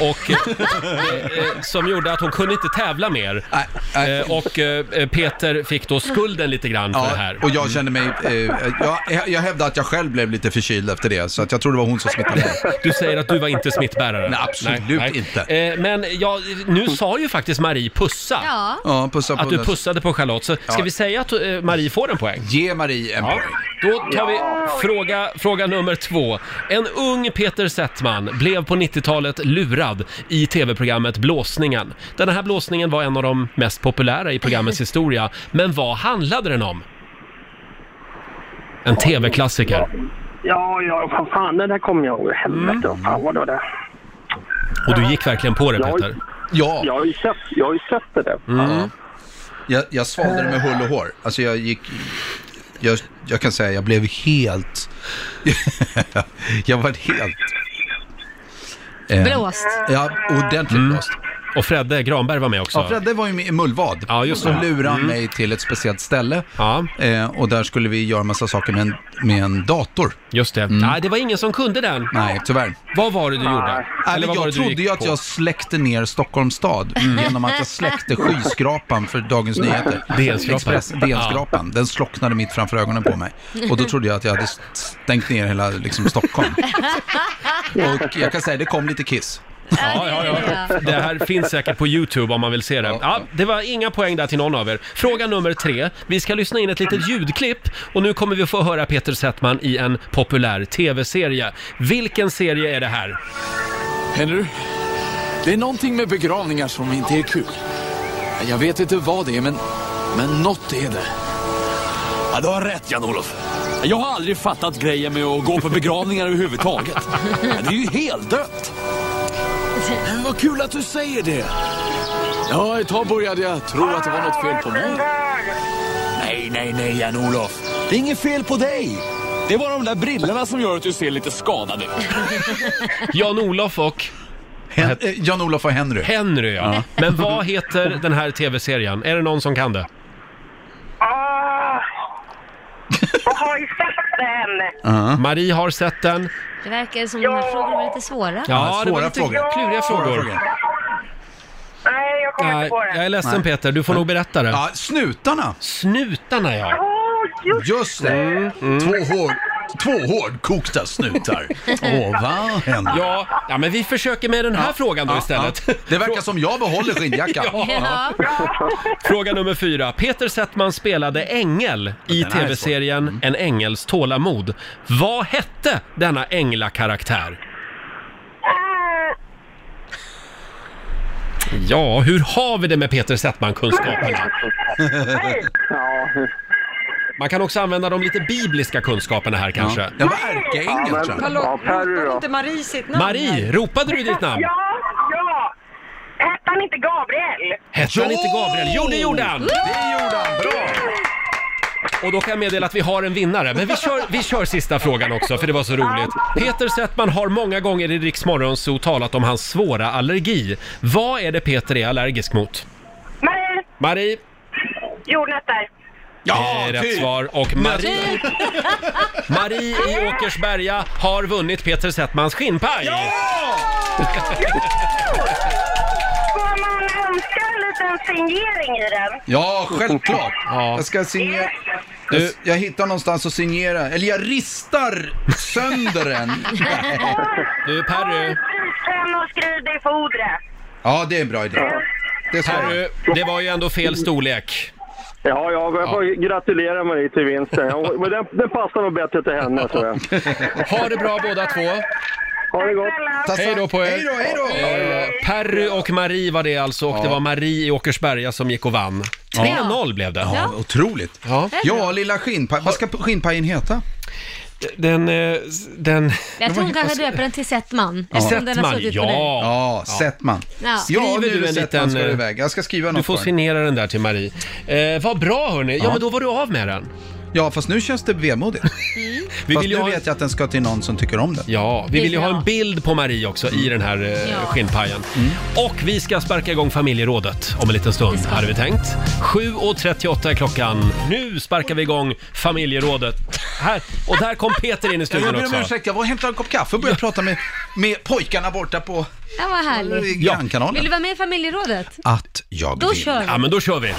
Speaker 1: och, eh, som gjorde att hon kunde inte tävla mer. Eh, och eh, Peter fick då skulden lite grann för
Speaker 9: Ja,
Speaker 1: det här.
Speaker 9: och jag kände mig, eh, jag. Jag hävdar att jag själv blev lite förkyld efter det, så att jag tror det var hon som smittade mig.
Speaker 1: Du säger att du var inte smittbärare?
Speaker 9: Nej, absolut inte.
Speaker 1: Eh, men ja, nu sa ju faktiskt Marie pussa.
Speaker 3: Ja.
Speaker 9: Ja, pussa på
Speaker 1: att du
Speaker 9: den.
Speaker 1: pussade på Charlotte. Så
Speaker 9: Ja.
Speaker 1: ska vi säga att eh, Marie får en poäng?
Speaker 9: Ge Marie en poäng.
Speaker 1: Då tar vi fråga, fråga nummer två. En ung Peter Settman blev på 90-talet lurad i tv-programmet Blåsningen. Den här blåsningen var en av de mest populära i programmets historia. Men vad handlade den om? En tv-klassiker.
Speaker 12: Ja, ja, fan, fan det där kommer jag ihåg. Helvete, vad fan var det där?
Speaker 1: Och du gick verkligen på det Peter.
Speaker 9: Ja.
Speaker 12: Jag har ju sett, jag har ju sett det där.
Speaker 9: Ja. Jag, jag svalde det med hull och hår. Alltså jag gick... Jag, jag kan säga, jag blev helt... jag var helt... eh,
Speaker 1: Blåst.
Speaker 9: Ja, ordentligt blåst.
Speaker 1: Och Fredde Granberg var med också.
Speaker 9: Ja, Fredde var ju med i Mullvad.
Speaker 1: Ja, just
Speaker 9: som
Speaker 1: det.
Speaker 9: lurade
Speaker 1: Mm.
Speaker 9: mig till ett speciellt ställe.
Speaker 1: Ja.
Speaker 9: Eh, och där skulle vi göra massa saker med en, med en dator. Mm.
Speaker 1: Just det. Nej, det var ingen som kunde den.
Speaker 9: Nej, tyvärr.
Speaker 1: Vad var det du gjorde?
Speaker 9: Eller
Speaker 1: vad var
Speaker 9: jag
Speaker 1: det du gick
Speaker 9: trodde ju att
Speaker 1: på? Mm.
Speaker 9: jag släckte ner Stockholms stad genom att jag släckte skyskrapan för Dagens Nyheter.
Speaker 1: DN-skrapan.
Speaker 9: Express, DN-skrapan. Den slocknade mitt framför ögonen på mig. Och då trodde jag att jag hade stängt ner hela liksom, Stockholm. Och jag kan säga, det kom lite kiss.
Speaker 1: Ja, ja, ja. Det här finns säkert på YouTube om man vill se det. Ja, det var inga poäng där till någon av er. Fråga nummer tre. Vi ska lyssna in ett litet ljudklipp och nu kommer vi få höra Peter Settman i en populär tv-serie. Vilken serie är det här?
Speaker 11: Henry, det är någonting med begravningar som inte är kul. Jag vet inte vad det är, men, men något är det. Ja, du har rätt, Jan-Olof. Jag har aldrig fattat grejen med att gå på begravningar överhuvudtaget. Det är ju helt dött. Men vad kul att du säger det. Ja, ett tag började jag tro att det var något fel på mig. Nej, nej, nej, Jan-Olof. Det är inget fel på dig. Det är bara de där brillorna som gör att du ser lite skadad ut.
Speaker 1: Jan-Olof och...
Speaker 9: eh, Jan-Olof och Henry.
Speaker 1: Henry, ja. Men vad heter den här tv-serien? Är det någon som kan det?
Speaker 10: Och Ah. har ju sett den.
Speaker 1: Marie har sett den.
Speaker 3: Det verkar som de här frågorna var lite svåra.
Speaker 1: Ja, det var lite kluriga frågor.
Speaker 10: Nej, jag kommer
Speaker 1: Nej,
Speaker 10: inte på det.
Speaker 1: jag är ledsen Peter, du får nog berätta det.
Speaker 9: Ja, snutarna.
Speaker 1: Snutarna, ja.
Speaker 9: Just det. Två, hård, två hårdkokta snutar. Åh, vad händer?
Speaker 1: Ja, ja, men vi försöker med den här frågan då
Speaker 9: ja,
Speaker 1: istället.
Speaker 9: ja. Det verkar som jag behåller skinnjackan.
Speaker 1: Ja. Fråga nummer fyra. Peter Settman spelade ängel i
Speaker 9: Den här är Mm.
Speaker 1: tv-serien En ängels tålamod. Vad hette denna änglakaraktär? Ja, hur har vi det med Peter Settman-kunskaperna? Man kan också använda de lite bibliska kunskaperna här kanske.
Speaker 9: Jag var ärkeängel tror jag.
Speaker 2: Charlotte, ropar inte Marie sitt namn?
Speaker 1: Marie,
Speaker 2: här?
Speaker 1: ropade du ditt namn?
Speaker 10: Ja, ja. Hette han inte Gabriel?
Speaker 1: Hette han inte Gabriel? Jo, det gjorde han! Och då kan jag meddela att vi har en vinnare. Men vi kör, vi kör sista frågan också, för det var så roligt. Peter Settman har många gånger i Riks Morgonzoo talat om hans svåra allergi. Vad är det Peter är allergisk mot?
Speaker 10: Marie,
Speaker 1: Marie,
Speaker 10: jordnötter.
Speaker 1: det är rätt svar. Och Marie, typ. Marie i Åkersberga har vunnit Peter Settmans skinnpaj!
Speaker 10: Får man önska en liten signering i den?
Speaker 9: Ja, självklart. Jag ska signera. Jag, jag hittar någonstans att signera, eller jag ristar sönder den. Nej.
Speaker 1: Du Perry.
Speaker 10: Sen och skriv det i fodret.
Speaker 9: Ja, det är en bra idé. Det ska
Speaker 1: Perry, det var ju ändå fel storlek.
Speaker 12: Ja, ja, jag får gratulera Marie till vinsten. Ja, Men den, den passar nog bättre till henne, tror jag.
Speaker 1: Ha det bra båda två.
Speaker 12: Ha det gott!
Speaker 1: Hej då på er!
Speaker 9: Hej då, hej då!
Speaker 1: Eh, Perry och Marie var det alltså och det var Marie i Åkersberga som gick och vann. 3-0 blev det.
Speaker 9: Ja, otroligt. Ja,
Speaker 1: Det är bra.
Speaker 9: ja lilla skinnpaj. Vad ska skinnpajen heta?
Speaker 1: Den... eh, den...
Speaker 3: Jag tror hon kanske döper den till Settman.
Speaker 9: Ja.
Speaker 3: eftersom den har suttit på dig.
Speaker 9: Ja, Settman.
Speaker 3: Ja.
Speaker 9: Ja, nu
Speaker 1: Skriver du en
Speaker 9: Settman
Speaker 1: liten...
Speaker 9: ska
Speaker 1: eh,
Speaker 9: iväg. Jag ska skriva
Speaker 1: Du
Speaker 9: något
Speaker 1: får
Speaker 9: för den.
Speaker 1: signera den där till Marie. Eh, vad bra hörni! Ja,
Speaker 9: Ja.
Speaker 1: men då var du av med den.
Speaker 9: Ja, fast nu känns det vemodigt.
Speaker 1: Vi
Speaker 9: fast
Speaker 1: vill
Speaker 9: nu
Speaker 1: ju ha en-
Speaker 9: vet jag att den ska till någon som tycker om den.
Speaker 1: Ja,
Speaker 9: Det
Speaker 1: vi
Speaker 9: är
Speaker 1: vill ju ha
Speaker 9: bra.
Speaker 1: en bild på Marie också i den här eh,
Speaker 9: Ja.
Speaker 1: skinnpajen. Och vi ska sparka igång familjerådet om en liten stund, hade vi tänkt. 7.38 är klockan. Nu sparkar vi igång familjerådet. Här, och där kom Peter in i
Speaker 9: Jag
Speaker 1: studion
Speaker 9: ber om
Speaker 1: också.
Speaker 9: ursäkt, jag var och hämtade en kopp kaffe och började prata med, med pojkarna borta på
Speaker 3: Ja, vad härligt.
Speaker 9: Ja. Grannkanalen.
Speaker 3: Vill du vara med i familjerådet?
Speaker 9: att jag
Speaker 3: Då
Speaker 9: vill.
Speaker 3: kör vi. Ja,
Speaker 1: men då kör vi.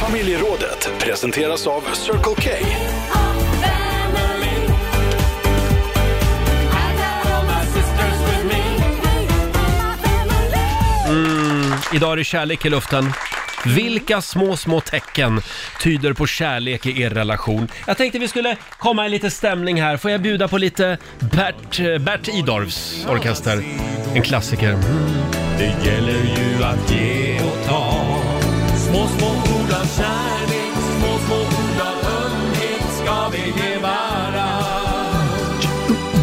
Speaker 11: Familjerådet presenteras av Circle K.
Speaker 1: Mm, idag är det kärlek i luften. Vilka små, små tecken tyder på kärlek i er relation? Jag tänkte vi skulle komma i lite stämning här. Får jag bjuda på lite Bert, eh, Bert Idorfs orkester? En klassiker. Det gäller ju att ge och ta
Speaker 5: Små, små ord av kärlek, små, små ord av ömhet ska vi ge varann.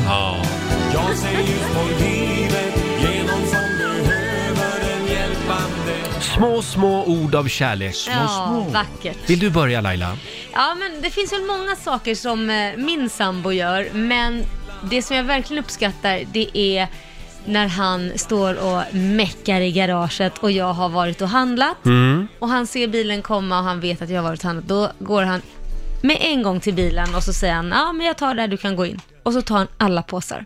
Speaker 1: Ja.
Speaker 5: Jag ser ljus på livet genom som behöver en hjälpande
Speaker 1: Små, små ord av kärlek.
Speaker 3: Ja, vackert.
Speaker 1: Vill du börja Laila?
Speaker 3: Ja, men det finns väl många saker som eh, min sambo gör, men det som jag verkligen uppskattar det är när han står och meckar i garaget och jag har varit och handlat
Speaker 5: Mm.
Speaker 3: och han ser bilen komma och han vet att jag har varit och handlat. Då går han med en gång till bilen och så säger han ja men jag tar det här, du kan gå in. Och så tar han alla påsar.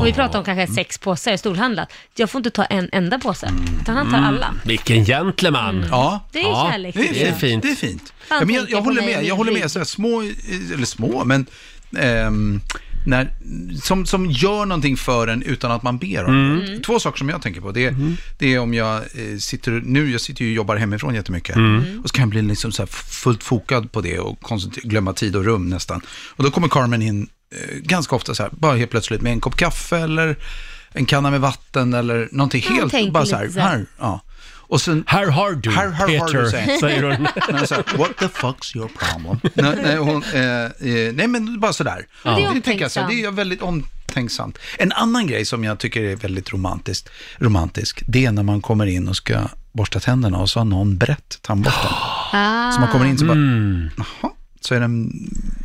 Speaker 3: Och vi pratar om kanske sex påsar, jag har storhandlat. Jag får inte ta en enda påse, utan han tar alla.
Speaker 1: Vilken gentleman!
Speaker 9: Ja.
Speaker 3: Det är Mm. Ja, kärlek, det är tycker jag. fint.
Speaker 9: Det är fint.
Speaker 3: Fan,
Speaker 9: Ja, men jag,
Speaker 3: tänker
Speaker 9: jag
Speaker 3: på
Speaker 9: håller
Speaker 3: mig och
Speaker 9: med.
Speaker 3: min
Speaker 9: Jag håller
Speaker 3: rygg.
Speaker 9: med. Så här, små, eller små, men ehm, när, som, som gör någonting för en utan att man ber om det.
Speaker 5: Mm.
Speaker 9: Två saker som jag tänker på. Det är, det är om jag eh, sitter, nu jag sitter ju och jobbar hemifrån jättemycket.
Speaker 5: Mm.
Speaker 9: Och så kan jag bli liksom så här fullt fokad på det och koncentrer- glömma tid och rum nästan. Och då kommer Carmen in eh, ganska ofta så här, bara helt plötsligt med en kopp kaffe eller en kanna med vatten eller någonting
Speaker 5: Ja,
Speaker 9: helt,
Speaker 5: tänker
Speaker 9: bara så här,
Speaker 5: lite så här.
Speaker 9: här, ja. Och sen,
Speaker 1: här har du,
Speaker 9: här, har
Speaker 5: Peter,
Speaker 9: du,
Speaker 5: säger hon.
Speaker 9: Men jag sa, What the fuck's your problem? nej, nej, hon, eh, eh, nej, men bara sådär.
Speaker 5: Ja. Det är
Speaker 9: tänker jag så här, det är jag väldigt omtänksamt. En annan grej som jag tycker är väldigt romantiskt, romantisk, det är när man kommer in och ska borsta tänderna och så har någon brett tandborsten.
Speaker 3: Ah.
Speaker 9: Så man kommer in så bara,
Speaker 3: Mm.
Speaker 9: jaha, så är den,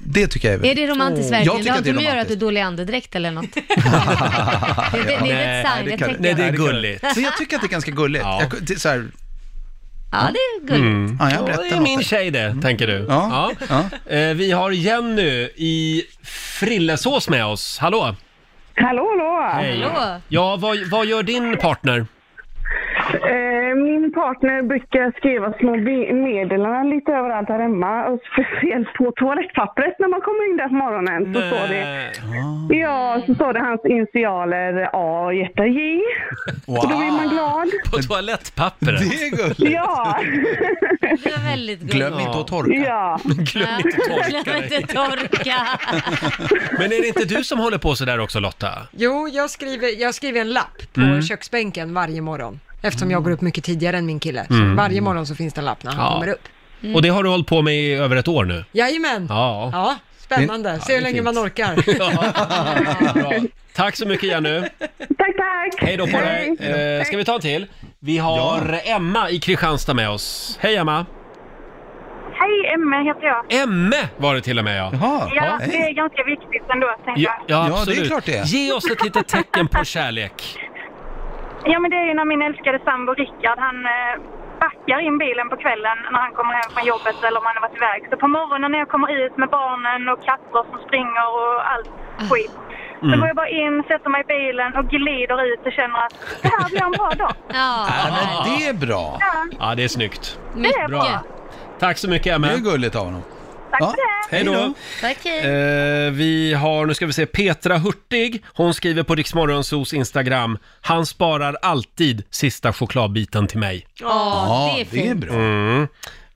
Speaker 9: det tycker jag är
Speaker 3: Ah. Är
Speaker 9: väldigt...
Speaker 3: det romantiskt
Speaker 9: Oh. Jag
Speaker 3: verkligen? Det har
Speaker 9: tycker att
Speaker 3: inte
Speaker 9: det är
Speaker 3: med att göra att du är
Speaker 9: romantiskt.
Speaker 3: dålig andedräkt eller något?
Speaker 9: det,
Speaker 3: det är ett sign, jag tänker- Nej, det är gulligt.
Speaker 9: Så jag tycker att det är ganska gulligt. Jag, det, är så här,
Speaker 3: Ja, det är gulligt.
Speaker 8: Mm.
Speaker 9: Ja, Mm. jag
Speaker 1: Då
Speaker 9: berättar
Speaker 1: är
Speaker 9: något
Speaker 1: min
Speaker 9: där.
Speaker 1: tjej det, tänker du. Ja. Eh, Vi har Jenny i Frillesås med oss. Hallå!
Speaker 13: Hallå, hallå!
Speaker 1: Ja, vad, vad gör din partner?
Speaker 13: Eh, min partner brukar skriva små bi- meddelanden lite överallt här hemma. Och speciellt på toalettpappret när man kommer in där på morgonen så står det...
Speaker 1: Eh,
Speaker 13: Ja, så står det hans initialer A och hjärta J. Och då blir man glad.
Speaker 1: På toalettpappret?
Speaker 9: Det är gulligt.
Speaker 13: Ja!
Speaker 3: Det var väldigt gulligt.
Speaker 1: Glöm inte att torka.
Speaker 13: Ja.
Speaker 1: Glöm inte torka
Speaker 3: Glöm
Speaker 1: dig.
Speaker 3: inte torka.
Speaker 1: Men är det inte du som håller på så där också Lotta?
Speaker 2: Jo, jag skriver, jag skriver en lapp på
Speaker 1: Mm.
Speaker 2: köksbänken varje morgon. Eftersom jag går upp mycket tidigare än min kille.
Speaker 1: Mm.
Speaker 2: Så varje morgon så finns det en lapp när han
Speaker 1: Ja.
Speaker 2: kommer upp. Mm.
Speaker 1: Och det har du hållit på med i över ett år nu?
Speaker 2: Jajamän!
Speaker 1: Ja.
Speaker 2: Ja, spännande. Se hur länge man orkar.
Speaker 1: Tack så mycket Jenny.
Speaker 13: Tack, tack!
Speaker 1: Hej då på dig. Eh, ska vi ta en till? Vi har Emma i Kristianstad med oss. Hej Emma!
Speaker 14: Hej, Emme heter jag.
Speaker 1: Emme var det till och med ja.
Speaker 14: Ja, det är ganska viktigt ändå, tänker
Speaker 1: Ja,
Speaker 14: jag.
Speaker 1: ja, absolut. Ge oss ett litet tecken på kärlek.
Speaker 14: Ja, men det är ju när min älskade sambo Rickard, han eh, backar in bilen på kvällen när han kommer hem från jobbet eller om han har varit iväg. Så på morgonen när jag kommer ut med barnen och katter som springer och allt skit. Så
Speaker 5: Mm.
Speaker 14: går jag bara in, sätter mig i bilen och glider ut och känner att det här blir en bra dag.
Speaker 3: Ja.
Speaker 9: men det är bra.
Speaker 14: Ja.
Speaker 1: Ja, det är snyggt.
Speaker 14: Det är
Speaker 1: Bra. Tack så mycket Emma. Det är
Speaker 9: gulligt av honom.
Speaker 14: Tack
Speaker 1: Ja,
Speaker 14: för det!
Speaker 1: hej då.
Speaker 3: Tack, hej.
Speaker 1: Eh, vi har, nu ska vi se, Petra Hurtig. Hon skriver på Riksmorgonsos Instagram. Han sparar alltid sista chokladbiten till mig.
Speaker 5: Ja, det är fint.
Speaker 1: Mm.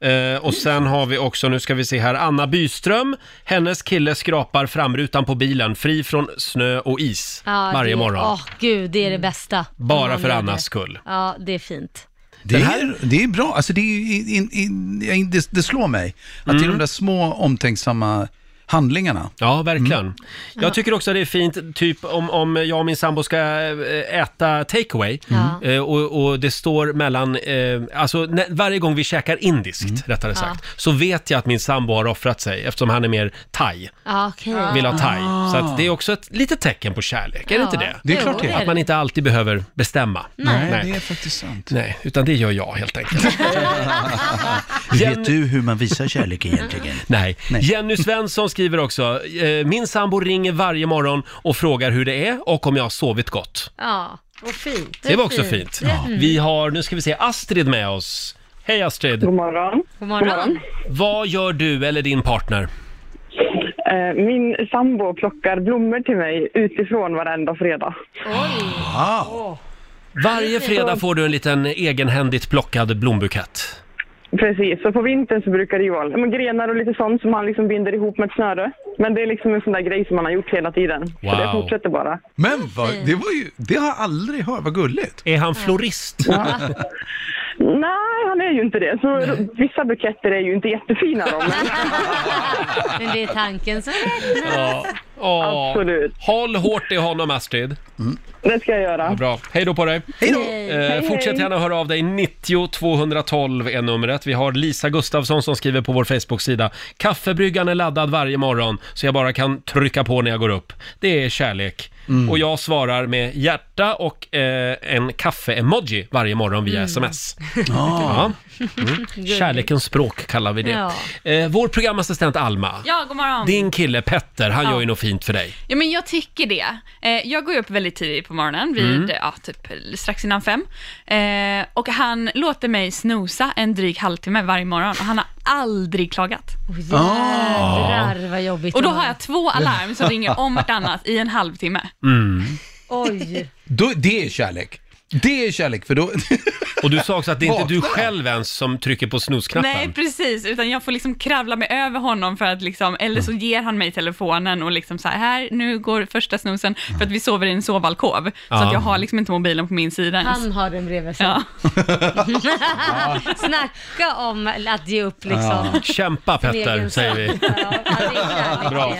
Speaker 1: Eh, och sen har vi också, nu ska vi se här, Anna Byström. Hennes kille skrapar framrutan på bilen fri från snö och is
Speaker 3: Ja,
Speaker 1: varje
Speaker 3: det,
Speaker 1: morgon.
Speaker 3: Åh, gud, det är det
Speaker 15: Mm.
Speaker 3: bästa.
Speaker 1: Bara
Speaker 3: Om
Speaker 1: för
Speaker 3: någon
Speaker 1: Annas
Speaker 3: gör det.
Speaker 1: skull.
Speaker 3: Ja, det är fint.
Speaker 9: Det, är, det är bra, alltså det, är, in, in, in, det, det slår mig att det är de där små omtänksamma handlingarna.
Speaker 1: Ja, verkligen. Jag tycker också det är fint, typ om, om jag och min sambo ska eh, äta takeaway
Speaker 5: Ja.
Speaker 3: Mm.
Speaker 1: eh, och, och det står mellan, eh, alltså nä- varje gång vi käkar indiskt, rättare
Speaker 3: Ja.
Speaker 1: sagt, så vet jag att min sambo har offrat sig eftersom han är mer thai.
Speaker 3: Ja, okej.
Speaker 1: Vill ha thai. Så att det är också ett litet tecken på kärlek, är det
Speaker 3: Ah. Ja,
Speaker 1: inte det?
Speaker 3: Det är klart jo, det är. det.
Speaker 1: Att man inte alltid behöver bestämma.
Speaker 9: Nej, det är faktiskt sant.
Speaker 1: Nej, utan det gör jag helt enkelt. Vet
Speaker 16: du hur man visar kärlek egentligen?
Speaker 1: Nej. Jenny Svensson skriver också, eh, min sambo ringer varje morgon och frågar hur det är och om jag har sovit gott.
Speaker 3: Ja, och fint.
Speaker 1: Det var också fint. Vi har, nu ska vi se, Astrid med oss. Hej Astrid!
Speaker 17: God morgon.
Speaker 3: God morgon.
Speaker 1: Vad gör du eller din partner?
Speaker 17: Eh, Min sambo plockar blommor till mig utifrån varenda fredag.
Speaker 1: Wow. Varje fredag får du en liten egenhändigt plockad blombukett.
Speaker 17: Precis, så på vintern så brukar det ju vara men grenar och lite sånt som han liksom binder ihop med ett snöre. Men det är liksom en sån där grej som han har gjort hela tiden. Så det
Speaker 9: Wow.
Speaker 17: fortsätter bara.
Speaker 9: Men vad, det var ju, det har jag aldrig hört, vad gulligt.
Speaker 1: Är han florist?
Speaker 17: Ja. Nej, han är ju inte det. Så vissa buketter är ju inte jättefina då. Men...
Speaker 3: Men det är tanken som räknas.
Speaker 1: Ja. Åh.
Speaker 17: Absolut.
Speaker 1: Håll hårt i honom Astrid.
Speaker 17: Det ska jag göra.
Speaker 1: Ja, bra. Hej då på dig.
Speaker 17: Hej då.
Speaker 1: Eh, fortsätt gärna höra av dig. 90 212 är numret. Vi har Lisa Gustafsson som skriver på vår Facebook-sida. Kaffebryggan är laddad varje morgon så jag bara kan trycka på när jag går upp. Det är kärlek.
Speaker 17: Mm.
Speaker 1: Och jag svarar med hjärta och eh, en kaffe-emoji varje morgon
Speaker 15: Mm.
Speaker 1: via sms.
Speaker 17: Ah.
Speaker 1: Ja. Mm. Kärlekens språk kallar vi det.
Speaker 15: Ja.
Speaker 1: Eh, vår programassistent Alma.
Speaker 15: Ja, god morgon.
Speaker 1: Din kille Petter, han
Speaker 15: Ja.
Speaker 1: gör ju något fint för dig.
Speaker 15: Ja, men jag tycker det. Eh, jag går ju upp väldigt tidigt på morgonen, vid,
Speaker 1: Mm.
Speaker 15: ja, typ strax innan fem. Eh, och han låter mig snosa en dryg halvtimme varje morgon och han har aldrig klagat.
Speaker 3: Oh, Jädrar vad jobbigt.
Speaker 15: Ah. Och då har jag två alarm som ringer om vartannat i en halvtimme.
Speaker 1: Mm.
Speaker 3: Oj.
Speaker 9: Då, det är kärlek. Det är kärlek, för då...
Speaker 1: Och du sa också att det är inte du själv ens som trycker på snosknappen.
Speaker 15: Nej, precis, utan jag får liksom kravla mig över honom för att liksom, eller så ger han mig telefonen och liksom så här, här, nu går första snosen, för att vi sover i en sovalkov. Så
Speaker 1: Ja.
Speaker 15: att jag har liksom inte mobilen på min sida ens.
Speaker 3: Han har den bredvid sig.
Speaker 15: Ja.
Speaker 3: Snacka om att ge upp liksom.
Speaker 1: Ja. Kämpa Petter, säger vi. Bra.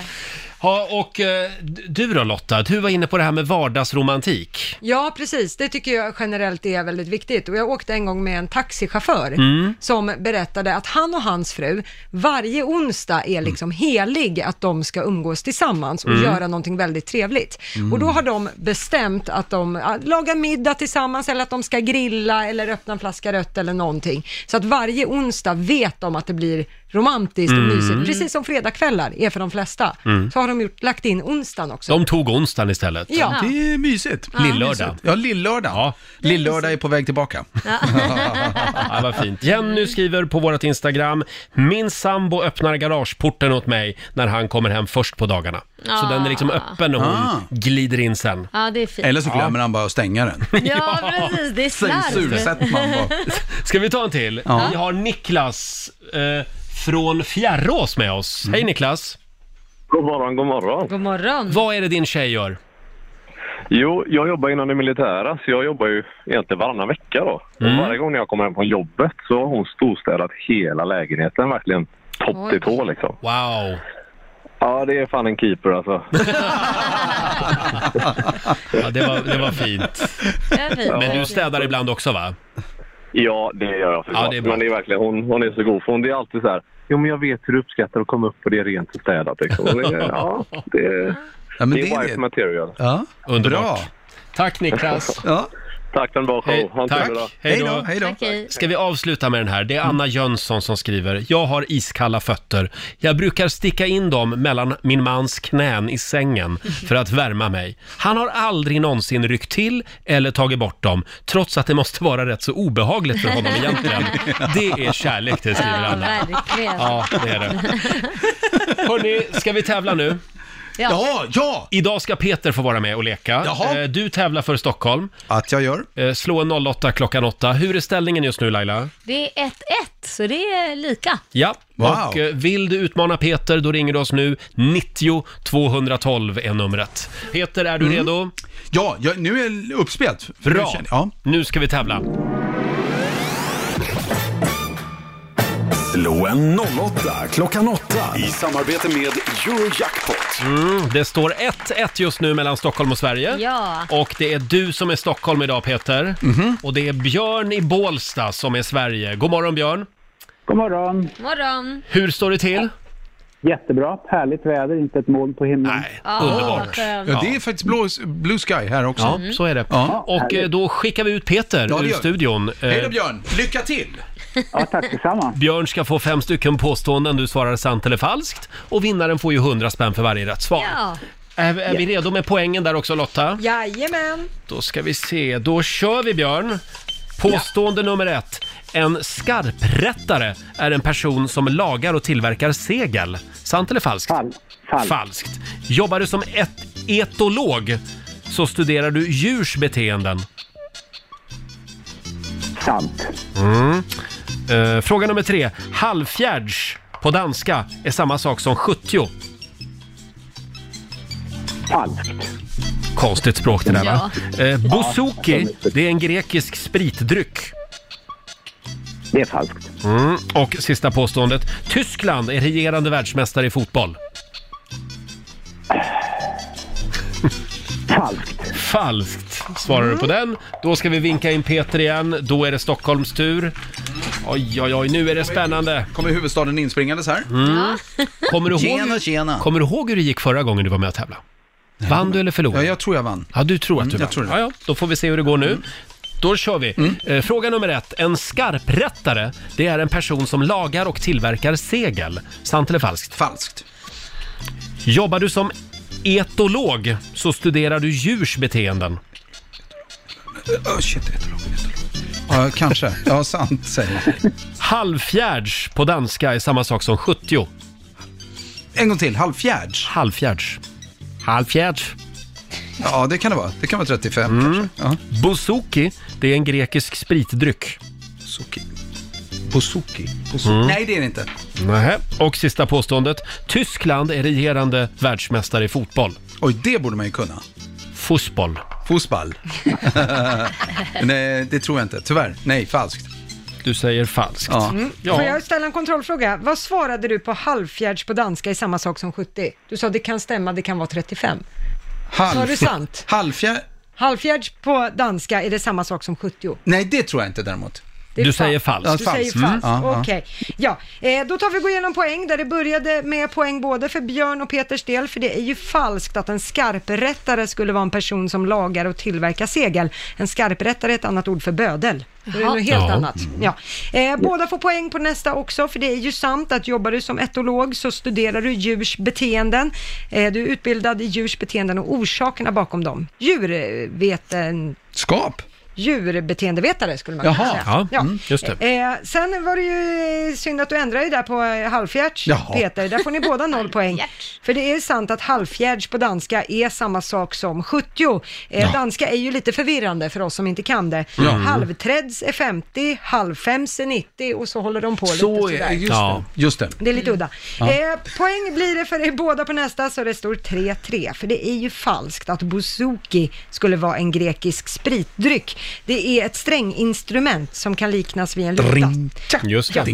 Speaker 1: Ja, och eh, d- du då Lotta, du var inne på det här med vardagsromantik.
Speaker 2: Ja, precis. Det tycker jag generellt är väldigt viktigt. Och jag åkte en gång med en taxichaufför
Speaker 1: Mm.
Speaker 2: som berättade att han och hans fru varje onsdag
Speaker 1: Mm.
Speaker 2: är liksom helig att de ska umgås tillsammans och
Speaker 5: Mm.
Speaker 2: göra någonting väldigt trevligt.
Speaker 5: Mm.
Speaker 2: Och då har de bestämt att de ja, lagar middag tillsammans eller att de ska grilla eller öppna en flaska rött eller någonting. Så att varje onsdag vet de att det blir romantiskt
Speaker 1: Mm.
Speaker 2: och mysigt. Precis som fredagskvällar är för de flesta.
Speaker 1: Mm.
Speaker 2: Så har de gjort, lagt in onsdagen också.
Speaker 1: De tog onsdagen istället.
Speaker 2: Ja.
Speaker 9: Det är mysigt.
Speaker 2: Ja.
Speaker 1: Lillördag.
Speaker 9: Ja, lillördag. Ja. Lillördag är på väg tillbaka.
Speaker 1: Ja, vad fint. Jenny skriver på vårt Instagram, min sambo öppnar garageporten åt mig när han kommer hem först på dagarna. Så
Speaker 3: Ah.
Speaker 1: den är liksom öppen när hon
Speaker 9: Ah.
Speaker 1: glider in sen.
Speaker 3: Ja, det är fint.
Speaker 9: Eller så glömmer han bara att stänga den.
Speaker 3: Ja, precis. Det är slarv.
Speaker 1: Ska vi ta en till?
Speaker 9: Ja.
Speaker 1: Vi har Niklas eh, från Fjärrås med oss.
Speaker 9: Mm.
Speaker 1: Hej Niklas!
Speaker 18: God morgon, god morgon.
Speaker 3: God morgon.
Speaker 1: Vad är det din tjej gör?
Speaker 18: Jo, jag jobbar inom det militära så jag jobbar ju egentligen varannan vecka då.
Speaker 1: Mm.
Speaker 18: Och varje gång när jag kommer hem från jobbet så har hon storstädat hela lägenheten verkligen topp till tå liksom.
Speaker 1: Wow!
Speaker 18: Ja, det är fan en keeper alltså.
Speaker 1: Ja, det var, det var fint. Men du städar ibland också va?
Speaker 18: Ja, det gör jag förstås.
Speaker 1: Ja, det är bra.
Speaker 18: men det är verkligen, hon, hon är så god för hon, det är alltid så här. Jo, men jag vet hur du uppskattar att komma upp och det är rent och städat liksom. Och Det, är- ja, det, är-
Speaker 9: Ja, men
Speaker 18: det är
Speaker 9: det är
Speaker 18: wife
Speaker 9: det.
Speaker 18: material.
Speaker 9: Ja,
Speaker 1: Underbart.
Speaker 9: bra.
Speaker 1: Tack Niklas.
Speaker 9: Ja.
Speaker 18: Tack för en bra show.
Speaker 1: Hej,
Speaker 18: Ha en
Speaker 1: tack.
Speaker 18: trevlig dag.
Speaker 1: Hej då. Mm. Hej
Speaker 3: då. Okej.
Speaker 1: Ska vi avsluta med den här? Det är Anna Jönsson som skriver. Jag har iskalla fötter. Jag brukar sticka in dem mellan min mans knän i sängen för att värma mig. Han har aldrig någonsin ryckt till eller tagit bort dem, trots att det måste vara rätt så obehagligt för honom egentligen. Det är kärlek, det skriver
Speaker 3: Ja,
Speaker 1: Anna.
Speaker 3: verkligen.
Speaker 1: Ja, det är det. Hörni, ska vi tävla nu?
Speaker 3: Ja. Ja,
Speaker 1: Idag ska Peter få vara med och leka. Eh, Du tävlar för Stockholm.
Speaker 9: Att jag gör.
Speaker 1: Eh, Slå en 08 klockan 8. Hur är ställningen just nu Laila?
Speaker 3: Det är 1-1, så det är lika.
Speaker 1: Ja,
Speaker 3: Wow.
Speaker 1: och eh, vill du utmana Peter då ringer du oss nu. 90 212 är numret. Peter, är du
Speaker 9: Mm.
Speaker 1: redo?
Speaker 9: Ja, jag, nu är det uppspelt. För nu
Speaker 1: Bra,
Speaker 9: känner- ja.
Speaker 1: nu ska vi tävla.
Speaker 4: Slå en 08 klockan 8.
Speaker 11: I samarbete med Eurojackpot.
Speaker 1: Mm, det står 1-1 just nu mellan Stockholm och Sverige.
Speaker 3: Ja.
Speaker 1: Och det är du som är Stockholm idag Peter.
Speaker 9: Mhm.
Speaker 1: Och det är Björn i Bålsta som är Sverige. God morgon Björn!
Speaker 19: God morgon.
Speaker 3: Morgon.
Speaker 1: Hur står det till?
Speaker 19: Jättebra. Härligt väder, inte ett moln på himlen. Nej,
Speaker 3: Ja, underbart. vad skönt. Mm.
Speaker 9: Ja, det är faktiskt blå, blue sky här också.
Speaker 1: Ja, så är det.
Speaker 9: Ja.
Speaker 1: Och eh, då skickar vi ut Peter
Speaker 9: Ja, det
Speaker 1: ur
Speaker 9: gör vi.
Speaker 1: studion.
Speaker 9: Hej
Speaker 1: Eh,
Speaker 9: då Björn, lycka till!
Speaker 19: Ja, tack detsamma.
Speaker 1: Björn ska få fem stycken påståenden du svarar sant eller falskt. Och vinnaren får ju 100 spänn för varje rätt svar.
Speaker 2: Ja.
Speaker 1: Är, är vi redo med poängen där också Lotta?
Speaker 2: Jajamän.
Speaker 1: Då ska vi se, då kör vi Björn. Påstående nummer ett. En skarprättare är en person som lagar och tillverkar segel. Sant eller falskt?
Speaker 19: falskt.
Speaker 1: Falskt. Jobbar du som et- etolog så studerar du djurs beteenden.
Speaker 19: Sant.
Speaker 1: Mm. Eh, fråga nummer tre. Halvfjärds på danska är samma sak som 70.
Speaker 19: Falskt.
Speaker 1: Konstigt språk det där va?
Speaker 19: Ja.
Speaker 1: Eh, bouzouki, det är en grekisk spritdryck.
Speaker 19: Det är falskt.
Speaker 1: Mm. Och sista påståendet. Tyskland är regerande världsmästare i fotboll.
Speaker 19: Falskt.
Speaker 1: Falskt svarar du på den. Då ska vi vinka in Peter igen. Då är det Stockholms tur. Oj, oj, oj, nu är det spännande.
Speaker 9: Kommer huvudstaden inspringandes här?
Speaker 1: Mm. Kommer, du
Speaker 9: Tjena,
Speaker 1: ihåg,
Speaker 9: tjena.
Speaker 1: kommer du ihåg hur det gick förra gången du var med och tävlade? Vann du eller förlorade? Ja,
Speaker 9: jag tror jag vann.
Speaker 1: Ja, du tror att du vann.
Speaker 9: tror det. Mm.
Speaker 1: ja, ja, då får vi se hur det går nu. Då kör vi. Eh, Fråga nummer ett. En skarprättare, det är en person som lagar och tillverkar segel. Sant eller falskt?
Speaker 9: Falskt.
Speaker 1: Jobbar du som etolog så studerar du djurs beteenden.
Speaker 9: Oh, shit, det är jättelångt, jättelångt. Ja, kanske. Ja, sant säger jag.
Speaker 1: Halvfjärds på danska är samma sak som 70.
Speaker 9: En gång till, halvfjärds?
Speaker 1: Halvfjärds. Halvfjärds.
Speaker 9: Ja, det kan det vara. Det kan vara 35
Speaker 1: Mm.
Speaker 9: kanske. Ja.
Speaker 1: Bouzouki, det är en grekisk spritdryck.
Speaker 9: Bouzouki. Bouzouki.
Speaker 1: Mm.
Speaker 9: Nej, det är det inte.
Speaker 1: Nähä. Och sista påståendet. Tyskland är regerande världsmästare i fotboll.
Speaker 9: Oj, det borde man ju kunna.
Speaker 1: Fotboll.
Speaker 9: Fotboll. Nej, det tror jag inte. Tyvärr. Nej, falskt.
Speaker 1: Du säger falskt.
Speaker 9: Ja.
Speaker 2: Mm. Får jag ställa en kontrollfråga? Vad svarade du på halvfjärds på danska i samma sak som 70? Du sa det kan stämma, det kan vara 35. Sa du sant?
Speaker 9: Halvfjär...
Speaker 2: Halvfjärds på danska är det samma sak som 70.
Speaker 9: Nej, det tror jag inte däremot.
Speaker 2: Det är Du säger
Speaker 1: falskt.
Speaker 2: Du säger falskt, okej. Alltså, Mm. Ja, eh, då tar vi gå igenom poäng där det började med poäng både för Björn och Peters del, för det är ju falskt att en skarprättare skulle vara en person som lagar och tillverkar segel. En skarprättare är ett annat ord för bödel. Det är
Speaker 5: Jaha.
Speaker 2: något helt
Speaker 5: Ja.
Speaker 2: annat. Ja. Eh, båda får poäng på nästa också, för det är ju sant att jobbar du som etolog så studerar du djurs beteenden. Eh, du är utbildad i djurs beteenden och orsakerna bakom dem. Djurveten...
Speaker 9: Skap?
Speaker 2: Djurbeteendevetare skulle man
Speaker 5: Jaha.
Speaker 2: kunna säga.
Speaker 5: Ja, mm, just
Speaker 2: Eh, sen var det ju eh, synd att du ändrade dig där på eh, halvfjärds,
Speaker 5: Jaha.
Speaker 2: Peter. Där får ni båda noll poäng. För det är sant att halvfjärds på danska är samma sak som 70. Eh,
Speaker 5: Ja.
Speaker 2: Danska är ju lite förvirrande för oss som inte kan det.
Speaker 5: Ja. Mm.
Speaker 2: Halvträds är 50, halvfems är 90 och så håller de på
Speaker 9: Så
Speaker 2: lite
Speaker 9: är
Speaker 2: sådär.
Speaker 9: just det. Just det.
Speaker 2: Det är
Speaker 5: Mm.
Speaker 2: lite udda.
Speaker 9: Ja.
Speaker 2: Eh, poäng blir det för er båda på nästa så det står 3-3. För det är ju falskt att bouzouki skulle vara en grekisk spritdryck. Det är ett stränginstrument som kan liknas vid en luta.
Speaker 5: Dring,
Speaker 1: Just det.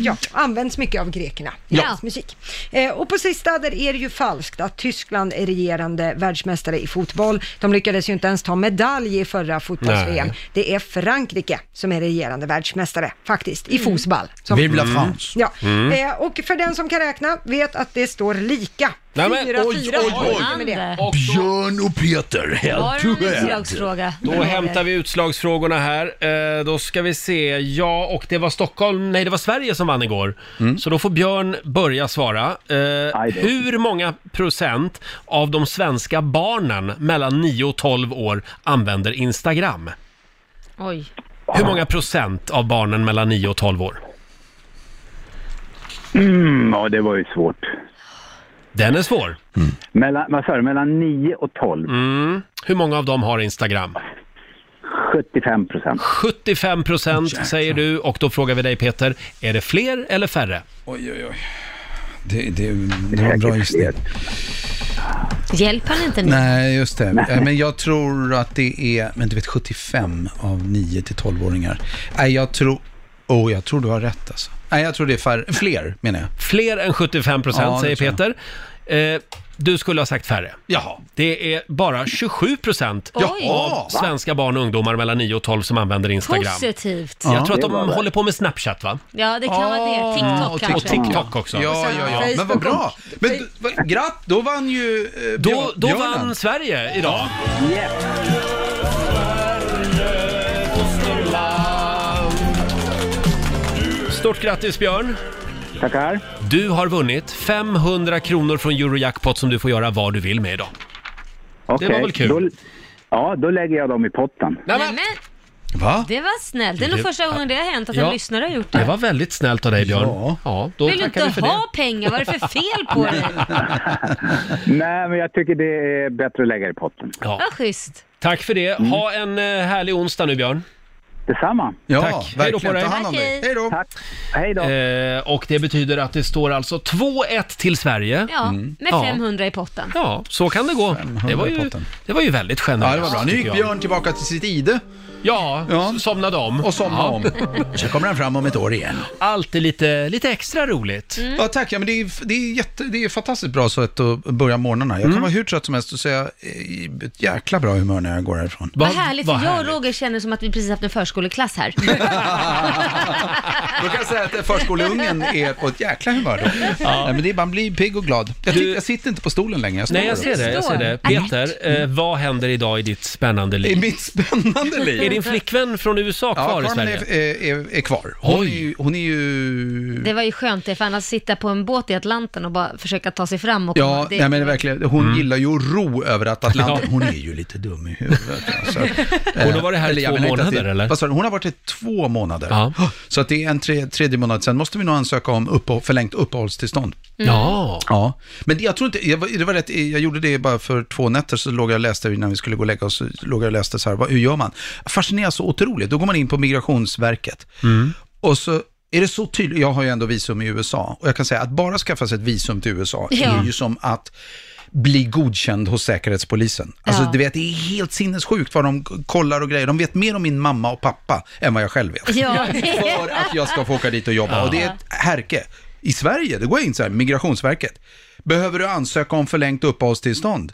Speaker 2: Ja, används mycket av grekerna i
Speaker 5: Ja.
Speaker 2: deras musik. Eh, och på sista, där är det ju falskt att Tyskland är regerande världsmästare i fotboll. De lyckades ju inte ens ta medalj i förra fotbolls-VM.
Speaker 5: Nej.
Speaker 2: Det är Frankrike som är regerande världsmästare, faktiskt, i
Speaker 5: Mm.
Speaker 2: fotboll. Som-
Speaker 5: Vive la France.
Speaker 2: Ja,
Speaker 5: Mm.
Speaker 2: eh, och för den som kan räkna vet att det står lika.
Speaker 5: Nej,
Speaker 2: Fyra,
Speaker 5: men-
Speaker 2: fyra.
Speaker 5: oj, oj, oj.
Speaker 2: Ja, men det.
Speaker 4: Björn och Peter, head to head.
Speaker 1: Då hämtar vi utslagsfrågorna här. Eh, då ska vi se. Ja, och det var Stockholm, nej det var Sverige som vann igår.
Speaker 20: Mm.
Speaker 1: Så då får Björn börja svara. Eh, hur många procent av de svenska barnen mellan 9 och 12 år använder Instagram?
Speaker 3: Oj.
Speaker 1: Hur många procent av barnen mellan 9 och 12 år?
Speaker 20: Mm, ja, det var ju svårt.
Speaker 1: Den är svår.
Speaker 20: Mellan, vad sa du, mellan 9 och 12?
Speaker 1: Mm. Hur många av dem har Instagram?
Speaker 20: 75 procent.
Speaker 1: 75 procent säger du och då frågar vi dig Peter, är det fler eller färre?
Speaker 9: Oj, oj, oj. Det, det, det var en bra gissning.
Speaker 3: Hjälper han inte nu?
Speaker 9: Nej, just det. Eh, Men jag tror att det är, men du vet 75 av 9 till 12-åringar. Nej, jag tror, Oh, jag tror du har rätt alltså. Nej, jag tror det är fär- fler, menar jag.
Speaker 1: Fler än 75 procent,
Speaker 9: Ja, det
Speaker 1: säger
Speaker 9: tror jag.
Speaker 1: Peter. Eh, du skulle ha sagt färre.
Speaker 9: Jaha.
Speaker 1: Det är bara 27 procent
Speaker 3: Oj.
Speaker 1: av
Speaker 3: Va?
Speaker 1: svenska barn och ungdomar mellan 9 och 12 som använder Instagram.
Speaker 3: Positivt.
Speaker 1: Jag tror att
Speaker 3: Det var
Speaker 1: de
Speaker 3: det.
Speaker 1: håller på med Snapchat, va?
Speaker 3: Ja, det kan vara det. TikTok
Speaker 1: Mm, och
Speaker 3: kanske.
Speaker 1: TikTok, TikTok också.
Speaker 9: Ja, ja, ja. Men vad bra. Men du- vad- gratt, då vann ju eh,
Speaker 1: Då, då
Speaker 9: Björn-
Speaker 1: vann Sverige idag. Stort grattis Björn!
Speaker 20: Tackar.
Speaker 1: Du har vunnit 500 kronor från Eurojackpot som du får göra vad du vill med idag. Det var
Speaker 20: Okej,
Speaker 1: väl kul?
Speaker 20: Då, ja, då lägger jag dem i potten.
Speaker 3: Nej, men,
Speaker 1: Va?
Speaker 3: det var snällt. Det är nog
Speaker 1: Det-
Speaker 3: första gången det har hänt att
Speaker 1: Ja.
Speaker 3: en lyssnare har gjort det.
Speaker 1: Det var väldigt snällt av dig Björn. Ja, då
Speaker 3: Vill du
Speaker 1: tackar vi
Speaker 3: inte
Speaker 1: för det.
Speaker 3: ha pengar? Vad är det för fel på dig?
Speaker 20: Nej, men jag tycker det är bättre att lägga i potten.
Speaker 1: Ja.
Speaker 3: Vad schysst.
Speaker 1: Tack för det.
Speaker 20: Mm.
Speaker 1: Ha en eh, härlig onsdag nu Björn.
Speaker 20: Detsamma.
Speaker 1: Ja, Hej då på dig.
Speaker 3: Hej
Speaker 20: då. Tack. Hej då.
Speaker 1: Eh, och det betyder att det står alltså 2-1 till Sverige.
Speaker 3: Ja,
Speaker 1: Mm.
Speaker 3: med
Speaker 1: Ja.
Speaker 3: 500 i potten.
Speaker 1: Ja, så kan det gå. Det var ju, det var ju väldigt generöst.
Speaker 9: Ja, det var bra. Nu gick
Speaker 1: tycker jag.
Speaker 9: Björn tillbaka till sitt ide.
Speaker 1: Ja, somnade om.
Speaker 9: Och somnade
Speaker 1: Ja.
Speaker 9: om. Så kommer han fram om ett år igen.
Speaker 1: Alltid lite, lite extra roligt.
Speaker 3: Mm.
Speaker 9: Ja, tack. Ja, men det, är, det, är jätte, det är fantastiskt bra sätt att börja morgnarna. Jag kan
Speaker 1: Mm.
Speaker 9: vara hur trött som helst och säga eh, i ett jäkla bra humör när jag går härifrån.
Speaker 3: Vad härligt, för jag och Roger känner som att vi precis haft en förskoleklass här.
Speaker 9: Då kan jag säga att förskoleungen är på ett jäkla humör då. Nej, men det är, man blir pigg och glad. Jag, tycker- jag sitter inte på stolen längre. Jag står
Speaker 1: Nej, jag
Speaker 9: upp.
Speaker 1: ser det. Jag ser det. Peter, eh, vad händer idag i ditt spännande liv?
Speaker 9: Mm. I mitt spännande liv?
Speaker 1: Är din flickvän från USA kvar i
Speaker 9: Carmen
Speaker 1: Sverige?
Speaker 9: Är, är, är kvar. Hon är, ju, hon är ju...
Speaker 3: Det var ju skönt det, för annars sitta på en båt i Atlanten och bara försöka ta sig fram och
Speaker 9: Ja,
Speaker 3: det,
Speaker 9: nej, men det är verkligen, hon gillar ju att ro över att Atlanten.
Speaker 1: Ja.
Speaker 9: Hon är ju lite dum i huvudet. Alltså.
Speaker 1: Hon har varit här i
Speaker 9: jag
Speaker 1: två
Speaker 9: menar inte att
Speaker 1: månader,
Speaker 9: det,
Speaker 1: eller?
Speaker 9: Vad sa du? Hon har varit här i två månader. Så att det är en tre, tredje månad. Sen måste vi nog ansöka om uppehåll, förlängt uppehållstillstånd.
Speaker 1: Mm. Ja.
Speaker 9: ja. Men det- jag tror inte, jag, var- det var rätt, jag gjorde det bara för två nätter, så låg jag och läste innan vi skulle gå och lägga oss, så låg jag och läste så här, vad, hur gör man? Fascineras så otroligt. Då går man in på Migrationsverket. Och så är det så tydligt, jag har ju ändå visum i USA, och jag kan säga att bara skaffa sig ett visum till USA
Speaker 5: Ja.
Speaker 9: är ju som att bli godkänd hos Säkerhetspolisen. Alltså,
Speaker 5: Ja.
Speaker 9: du vet, det är helt sinnessjukt vad de kollar och grejer. De vet mer om min mamma och pappa än vad jag själv vet.
Speaker 5: Ja.
Speaker 9: För att jag ska få åka dit och jobba.
Speaker 5: Ja.
Speaker 9: Och det är ett härke. I Sverige, det går jag in så här, Migrationsverket. Behöver du ansöka om förlängt uppehållstillstånd?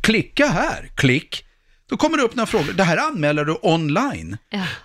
Speaker 9: Klicka här, klick. Då kommer det upp några frågor. Det här anmäler du online.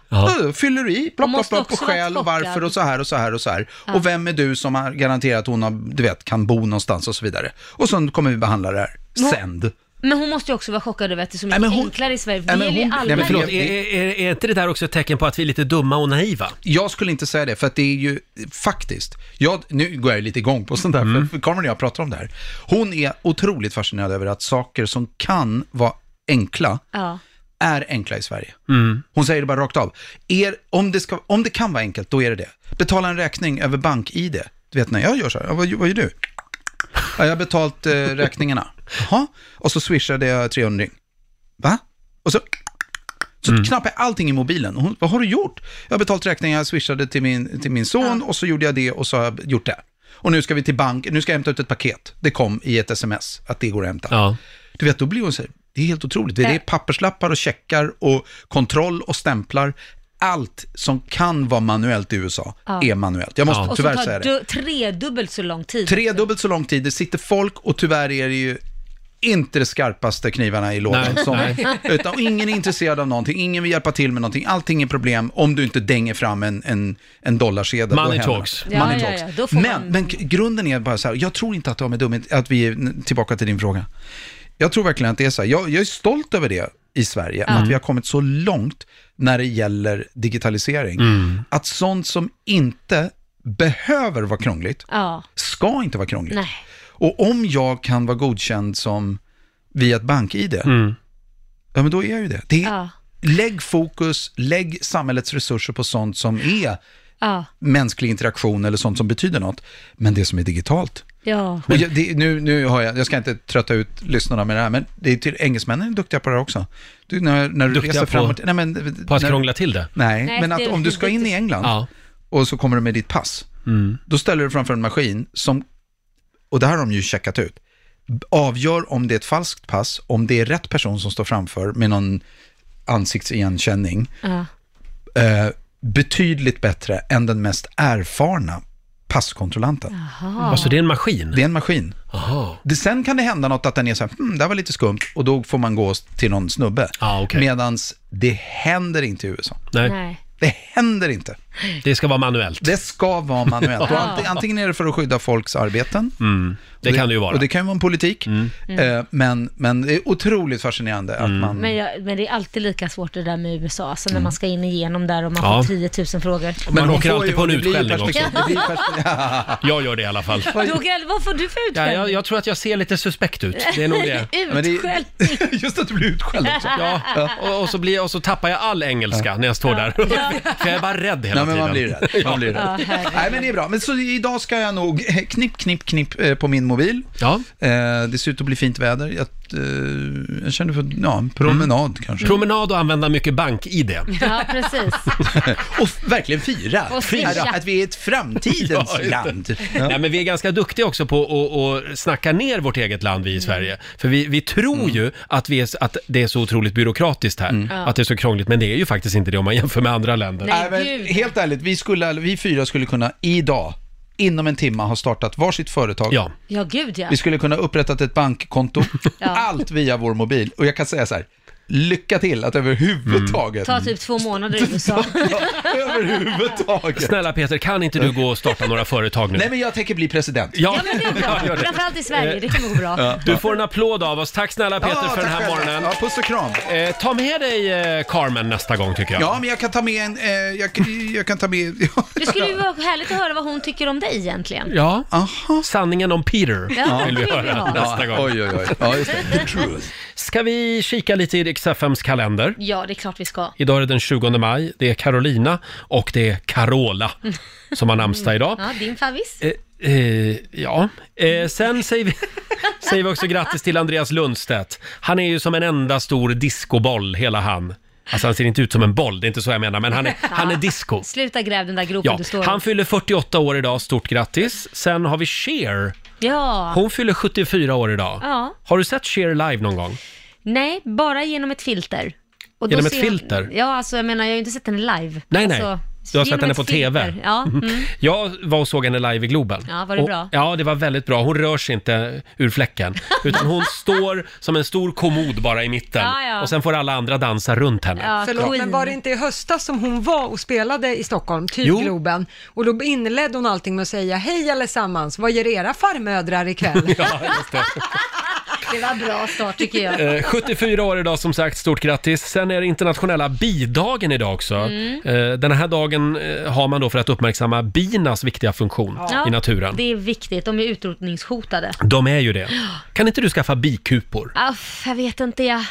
Speaker 3: Ja.
Speaker 9: Då fyller du i, plopp, plopp,
Speaker 5: måste
Speaker 9: plopp, och
Speaker 5: också vara
Speaker 9: skäl och varför och så här och så här och så här.
Speaker 5: Ja.
Speaker 9: Och vem är du som har garanterat att hon har, du vet, kan bo någonstans och så vidare. Och sen kommer vi behandla det här.
Speaker 3: Hon-
Speaker 9: Sänd.
Speaker 3: Men hon måste ju också vara chockad över att det är så
Speaker 9: Nej,
Speaker 3: mycket
Speaker 9: men hon-
Speaker 3: enklare i Sverige. för
Speaker 9: Nej,
Speaker 3: Det
Speaker 9: men
Speaker 3: gäller ju
Speaker 9: hon-
Speaker 3: alla.
Speaker 1: Nej, men förlåt,
Speaker 9: det-
Speaker 1: är, är, är inte det där också ett tecken på att vi är lite dumma och naiva?
Speaker 9: Jag skulle inte säga det, för att det är ju faktiskt, jag, nu går jag lite igång på sånt där, för Karin och jag pratar om det här. Hon är otroligt fascinerad över att saker som kan vara enkla
Speaker 3: Ja.
Speaker 9: är enkla i Sverige. Hon säger det bara rakt av. Er, om, det ska, om det kan vara enkelt, då är det det. Betala en räkning över bank-id. Du vet när jag gör så här, ja, vad, vad gör du? Ja, jag har betalt eh, räkningarna. Jaha, och så swishade jag 300 Va? Och så, så knappar jag allting i mobilen. Och Hon, vad har du gjort? Jag har betalt räkningar, jag swishade till min, till min son och så gjorde jag det och så har jag gjort det. Och nu ska vi till bank, nu ska jag hämta ut ett paket. Det kom i ett sms att det går att hämta. Du vet, då blir hon så här, det är helt otroligt. Det är
Speaker 3: Ja.
Speaker 9: papperslappar och checkar och kontroll och stämplar. Allt som kan vara manuellt i USA
Speaker 3: Ja.
Speaker 9: är manuellt. Jag måste
Speaker 3: och
Speaker 9: tyvärr
Speaker 3: som tar
Speaker 9: säga det.
Speaker 3: du- tredubbelt så lång tid.
Speaker 9: Tredubbelt så lång tid, det sitter folk och tyvärr är det ju inte de skarpaste knivarna i lådan.
Speaker 5: Nej,
Speaker 9: Som,
Speaker 5: nej.
Speaker 9: Utan och ingen är intresserad av någonting, ingen vill hjälpa till med någonting, allting är problem om du inte dänger fram en, en, en dollarsedel.
Speaker 1: Money
Speaker 9: Då händer det.
Speaker 1: talks.
Speaker 3: Ja,
Speaker 9: Money
Speaker 3: ja,
Speaker 9: talks.
Speaker 3: ja, då får
Speaker 9: men,
Speaker 3: man-
Speaker 9: men k- grunden är bara så här, jag tror inte att det har med dumhet, att vi är tillbaka till din fråga. Jag tror verkligen att det är så här, jag, jag är stolt över det i Sverige,
Speaker 5: Mm.
Speaker 9: att vi har kommit så långt när det gäller digitalisering.
Speaker 5: Mm.
Speaker 9: Att sånt som inte behöver vara krångligt,
Speaker 3: Ja.
Speaker 9: ska inte vara krångligt.
Speaker 3: Nej.
Speaker 9: Och om jag kan vara godkänd som via ett bank-id, ja men då är jag ju det. det är,
Speaker 3: Ja.
Speaker 9: Lägg fokus, lägg samhällets resurser på sånt som är
Speaker 3: Ja.
Speaker 9: mänsklig interaktion eller sånt som betyder något, men det som är digitalt.
Speaker 3: Ja.
Speaker 9: Och jag, det, nu, nu har jag, jag ska inte trötta ut lyssnarna med det här, men det är till, engelsmännen är duktiga på det här också. Du, när, när du
Speaker 1: Duktiga
Speaker 9: reser
Speaker 1: på-
Speaker 9: framåt... Nej, men,
Speaker 1: på att
Speaker 9: när,
Speaker 1: krångla till det?
Speaker 9: Nej,
Speaker 1: Nej,
Speaker 9: men att
Speaker 1: det-
Speaker 9: om du ska in i England och så kommer du med ditt pass, då ställer du framför en maskin som, och det här har de ju checkat ut, avgör om det är ett falskt pass, om det är rätt person som står framför med någon ansiktsigenkänning.
Speaker 3: Ja.
Speaker 9: Eh, betydligt bättre än den mest erfarna passkontrollanten.
Speaker 1: Jaha. Alltså, det är en maskin?
Speaker 9: Det är en maskin. Det, sen kan det hända något att den är så här, hmm, det här var lite skumt, och då får man gå till någon snubbe. Ah, Medan det händer inte i USA.
Speaker 1: Nej.
Speaker 3: Nej.
Speaker 9: Det händer inte.
Speaker 1: Det ska vara manuellt.
Speaker 9: Det ska vara manuellt. Och anting- antingen är det för att skydda folks arbeten.
Speaker 1: det kan det ju vara.
Speaker 9: Och det kan ju vara en politik.
Speaker 3: Mm.
Speaker 9: Eh, Men, men det är otroligt fascinerande att man...
Speaker 3: Men, jag, men det är alltid lika svårt det där med USA, alltså när man ska in igenom där och man
Speaker 9: Ja.
Speaker 3: får 10 000 frågor.
Speaker 1: Man
Speaker 9: Men de
Speaker 1: åker
Speaker 9: får
Speaker 1: alltid
Speaker 9: ju-
Speaker 1: på en
Speaker 9: det blir ju
Speaker 1: utskällning också.
Speaker 9: perspektiv-
Speaker 3: det blir
Speaker 1: jag gör det i alla fall.
Speaker 3: Du, åker- vad får du för
Speaker 1: Ja,
Speaker 3: utskällning?
Speaker 1: jag, jag tror att jag ser lite suspekt ut. Det är nog det.
Speaker 3: Utskälld.
Speaker 9: Just att du blir utskälld
Speaker 3: också.
Speaker 1: Ja, och, och, så blir, och så tappar jag all engelska när jag står där. För jag är bara rädd hela
Speaker 9: Nej, men man
Speaker 1: tiden.
Speaker 9: blir rädd. Man blir rädd.
Speaker 1: Ja.
Speaker 9: Nej, men det är bra. Men så idag ska jag nog knipp, knipp, knipp eh, på min mobil. Eh,
Speaker 1: Ja.
Speaker 9: Det ser ut att bli fint väder. Jag, eh, jag känner för ja, en promenad kanske.
Speaker 1: Promenad och använda mycket bank-id.
Speaker 3: Ja, precis.
Speaker 9: och verkligen fira.
Speaker 3: Och fira.
Speaker 9: att vi är ett framtidens
Speaker 1: just det.
Speaker 9: land.
Speaker 1: Nej, men vi är ganska duktiga också på att- att snacka ner vårt eget land,
Speaker 9: Mm.
Speaker 1: vi i Sverige. För vi, vi tror ju att, vi är, s- att det är så otroligt byråkratiskt här,
Speaker 9: Mm.
Speaker 1: att det är så krångligt, men det är ju faktiskt inte det om man jämför med andra länder.
Speaker 9: Nej, men, helt ärligt, vi, skulle, vi fyra skulle kunna idag, inom en timme, ha startat varsitt företag.
Speaker 3: Ja, gud ja.
Speaker 9: Vi skulle kunna upprättat ett bankkonto,
Speaker 3: Ja.
Speaker 9: allt via vår mobil. Och jag kan säga så här, lycka till att överhuvudtaget,
Speaker 3: Ta typ två månader
Speaker 1: Mm.
Speaker 3: i USA.
Speaker 9: överhuvudtaget.
Speaker 1: Snälla Peter, kan inte du gå och starta några företag nu?
Speaker 9: Nej men jag tänker bli president.
Speaker 1: Ja,
Speaker 3: men det är bra.
Speaker 1: Ja, gör det.
Speaker 3: Framförallt i Sverige, det kommer gå bra.
Speaker 1: Du får en applåd av oss. Tack snälla Peter
Speaker 9: Ja,
Speaker 1: för den
Speaker 9: tack
Speaker 1: här
Speaker 9: själv.
Speaker 1: morgonen.
Speaker 9: Ja, puss och kram.
Speaker 1: Eh, ta med dig eh, Carmen nästa gång tycker jag.
Speaker 9: Ja, men jag kan ta med en, eh, jag, jag kan ta med,
Speaker 3: Det skulle ju vara härligt att höra vad hon tycker om dig egentligen.
Speaker 1: Ja, sanningen om Peter
Speaker 3: Ja,
Speaker 1: vill vi
Speaker 3: det vill
Speaker 1: höra
Speaker 3: vi ha.
Speaker 1: nästa gång.
Speaker 9: Oj, oj, oj. Ja, just det. The truth.
Speaker 1: Ska vi kika lite i Rix FMs kalender?
Speaker 3: Ja, det är klart vi ska.
Speaker 1: Idag är det den 20 maj, det är Carolina och det är Carola som har namnsdag idag.
Speaker 3: Ja, din favvis.
Speaker 1: Eh, eh, ja, eh, sen säger vi, säger vi också grattis till Andreas Lundstedt. Han är ju som en enda stor discoboll, hela han. Alltså han ser inte ut som en boll, det är inte så jag menar, men han är, han är disco.
Speaker 3: Sluta gräv den där gropen
Speaker 1: Ja,
Speaker 3: du står i.
Speaker 1: han fyller 48 år idag, stort grattis. Sen har vi Cher.
Speaker 3: Ja.
Speaker 1: Hon fyller 74 år idag.
Speaker 3: Ja.
Speaker 1: Har du sett Cher live någon gång?
Speaker 3: Nej, bara genom ett filter. Och då
Speaker 1: Genom ett
Speaker 3: ser jag-
Speaker 1: filter?
Speaker 3: Ja, alltså jag menar, jag har ju inte sett henne live.
Speaker 1: Nej, nej.
Speaker 3: Alltså,
Speaker 1: Du har sett
Speaker 3: genom
Speaker 1: henne
Speaker 3: ett
Speaker 1: på TV.
Speaker 3: filter. Ja, mm.
Speaker 1: Jag var och såg henne live i Globen.
Speaker 3: Ja, var det
Speaker 1: och,
Speaker 3: bra?
Speaker 1: Ja, det var väldigt bra. Hon rör sig inte ur fläcken. Utan hon står som en stor kommod bara i mitten.
Speaker 2: Ja, ja.
Speaker 1: Och sen får alla andra dansa runt henne.
Speaker 2: Förlåt, men var det inte i höstas som hon var och spelade i Stockholm, typ
Speaker 1: Jo.
Speaker 2: Globen? Och då inledde hon allting med att säga, hej allesammans, vad gör era farmödrar ikväll?
Speaker 1: Ja, just det.
Speaker 3: Det var bra start tycker
Speaker 1: Eh,
Speaker 3: jag.
Speaker 1: 74 år idag som sagt, stort grattis. Sen är det internationella bidagen idag också.
Speaker 3: Mm.
Speaker 1: Eh, Den här dagen eh, har man då för att uppmärksamma binas viktiga funktion
Speaker 3: Ja,
Speaker 1: i naturen.
Speaker 3: Det är viktigt, de är utrotningshotade.
Speaker 1: De är ju det. Kan inte du skaffa bikupor?
Speaker 3: Aff, jag vet inte, jag...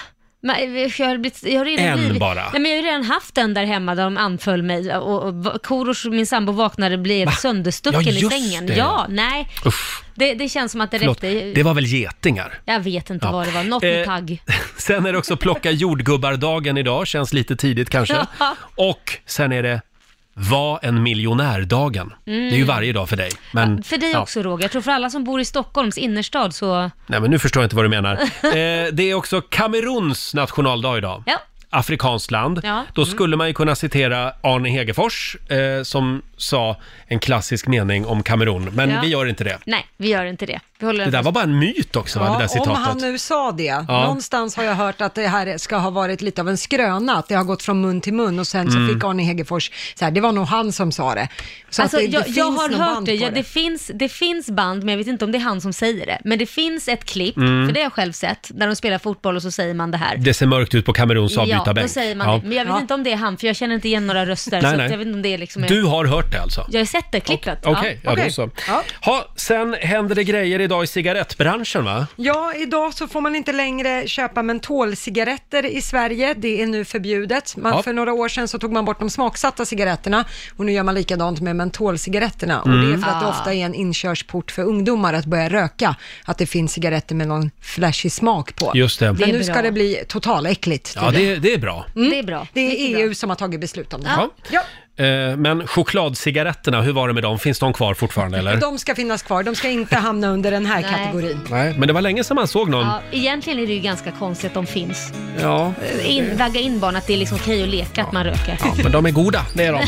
Speaker 3: Men jag har, blivit, jag har redan
Speaker 1: En
Speaker 3: blivit,
Speaker 1: bara.
Speaker 3: Nej, men jag har redan haft en där hemma där de anföll mig och, och, och Korosh, min sambo, vaknade och blev
Speaker 1: Va?
Speaker 3: sönderstucken
Speaker 1: Ja,
Speaker 3: i
Speaker 1: just
Speaker 3: sängen.
Speaker 1: det.
Speaker 3: Ja, nej.
Speaker 1: Usch,
Speaker 3: Det, det känns som att det
Speaker 1: förlåt.
Speaker 3: räckte.
Speaker 1: Det var väl getingar?
Speaker 3: Jag vet inte
Speaker 1: Ja.
Speaker 3: vad det var, något med
Speaker 1: Eh,
Speaker 3: tagg.
Speaker 1: Sen är det också plocka jordgubbar-dagen idag, känns lite tidigt kanske.
Speaker 3: Ja.
Speaker 1: Och sen är det var en miljonär-dagen.
Speaker 3: Mm.
Speaker 1: Det är ju varje dag för dig. Men,
Speaker 3: För dig
Speaker 1: Mm. ja.
Speaker 3: också Roger, jag tror för alla som bor i Stockholms innerstad så...
Speaker 1: Nej, men nu förstår jag inte vad du menar. Eh, det är också Kameruns nationaldag idag.
Speaker 3: Ja.
Speaker 1: Afrikanskt land.
Speaker 3: Ja. Mm.
Speaker 1: Då skulle man ju kunna citera Arne Hegerfors eh, som sa en klassisk mening om Kamerun, men
Speaker 2: Ja.
Speaker 1: vi gör inte det.
Speaker 3: Nej, vi gör inte det. Vi håller
Speaker 1: Det där var bara en myt också, va? det där
Speaker 2: om
Speaker 1: citatet.
Speaker 2: han nu sa det. Någonstans har jag hört att det här ska ha varit lite av en skröna, att det har gått från mun till mun och sen
Speaker 1: Mm.
Speaker 2: så fick Arne Hegerfors, så här, det var nog han som sa det. Så
Speaker 3: alltså,
Speaker 2: att det, det
Speaker 3: jag,
Speaker 2: finns
Speaker 3: jag har
Speaker 2: nog
Speaker 3: hört
Speaker 2: band
Speaker 3: det.
Speaker 2: på
Speaker 3: Ja, det, finns, det finns band, men jag vet inte om det är han som säger det. Men det finns ett klipp,
Speaker 1: Mm.
Speaker 3: för det har jag själv sett, där de spelar fotboll och så säger man det här.
Speaker 1: Det ser mörkt ut på Kameruns
Speaker 3: ja,
Speaker 1: avbytarbänk.
Speaker 3: då säger man
Speaker 1: Ja.
Speaker 3: det. Men jag vet inte om det är han, för jag känner inte igen några röster.
Speaker 1: Nej,
Speaker 3: så
Speaker 1: nej.
Speaker 3: Att jag vet inte om det är liksom...
Speaker 1: Du har hört det alltså?
Speaker 3: Jag har sett det klippet.
Speaker 1: Okej, ja, då så. Ha, sen händer det grejer idag i cigarettbranschen va?
Speaker 2: Ja, idag så får man inte längre köpa mentolcigaretter i Sverige. Det är nu förbjudet. Man,
Speaker 1: Ja.
Speaker 2: För några år sedan så tog man bort de smaksatta cigaretterna och nu gör man likadant med mentolcigaretterna. Och det är
Speaker 1: Mm.
Speaker 2: för att det
Speaker 1: Ah.
Speaker 2: ofta är en inkörsport för ungdomar att börja röka, att det finns cigaretter med någon flashig smak på.
Speaker 1: Just det. Det är
Speaker 2: Men nu ska
Speaker 1: bra.
Speaker 2: det bli totaläckligt. E
Speaker 1: Ja, det, det är bra.
Speaker 2: Det är bra. Det är EU som har tagit beslut om det.
Speaker 1: Ja.
Speaker 2: Ja.
Speaker 1: Eh, men chokladcigaretterna, hur var det med dem? Finns de kvar fortfarande eller?
Speaker 2: De ska finnas kvar, de ska inte hamna under den här kategorin.
Speaker 1: Nej, men det var länge sedan man såg någon.
Speaker 3: Ja, egentligen är det ju ganska konstigt att de finns.
Speaker 1: Ja.
Speaker 3: In, vagga in barn att det är liksom okej att leka att man röker.
Speaker 1: Ja, men de är goda, det är de.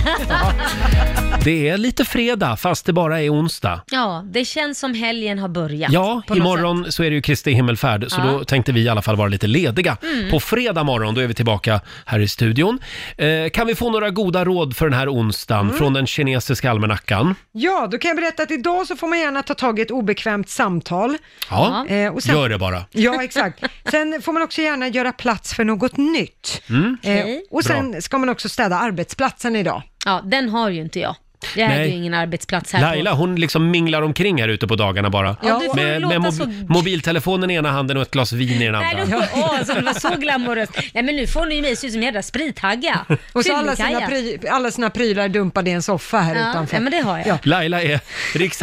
Speaker 1: Det är lite fredag, fast det bara är onsdag.
Speaker 3: Ja, det känns som helgen har börjat.
Speaker 1: Ja,
Speaker 3: på något
Speaker 1: imorgon så är det ju Kristi himmelfärd, så
Speaker 3: Ja.
Speaker 1: då tänkte vi i alla fall vara lite lediga.
Speaker 3: Mm.
Speaker 1: På fredag morgon, då är vi tillbaka här i studion. Eh, kan vi få några goda råd för den här onsdagen
Speaker 3: Mm.
Speaker 1: från den kinesiska almanackan?
Speaker 2: Ja, då kan jag berätta att idag så får man gärna ta tag i ett obekvämt samtal.
Speaker 1: Ja,
Speaker 2: Eh, och sen-
Speaker 1: gör det bara.
Speaker 2: Ja, exakt. Sen får man också gärna göra plats för något nytt.
Speaker 1: Mm.
Speaker 2: Eh, och sen ska man också städa arbetsplatsen idag.
Speaker 3: Ja, den har ju inte jag. Jag
Speaker 1: Nej.
Speaker 3: äger ju ingen arbetsplats här.
Speaker 1: Laila, hon liksom minglar omkring här ute på dagarna bara.
Speaker 3: Ja, du får
Speaker 1: med
Speaker 3: låta
Speaker 1: med mob-
Speaker 3: så-
Speaker 1: mobiltelefonen i ena handen och ett glas vin i den
Speaker 3: på. Nej,
Speaker 1: andra.
Speaker 3: då får, åh, så det var så glamoröst. Nej, men nu får ni ju mig se ut som en jävla sprithagga.
Speaker 2: Och så alla
Speaker 3: Fyllekaja.
Speaker 2: sina, pry- alla sina prylar dumpade i en soffa här
Speaker 3: Ja,
Speaker 2: utanför.
Speaker 3: ja, men det har jag.
Speaker 2: Ja,
Speaker 1: Laila är Rix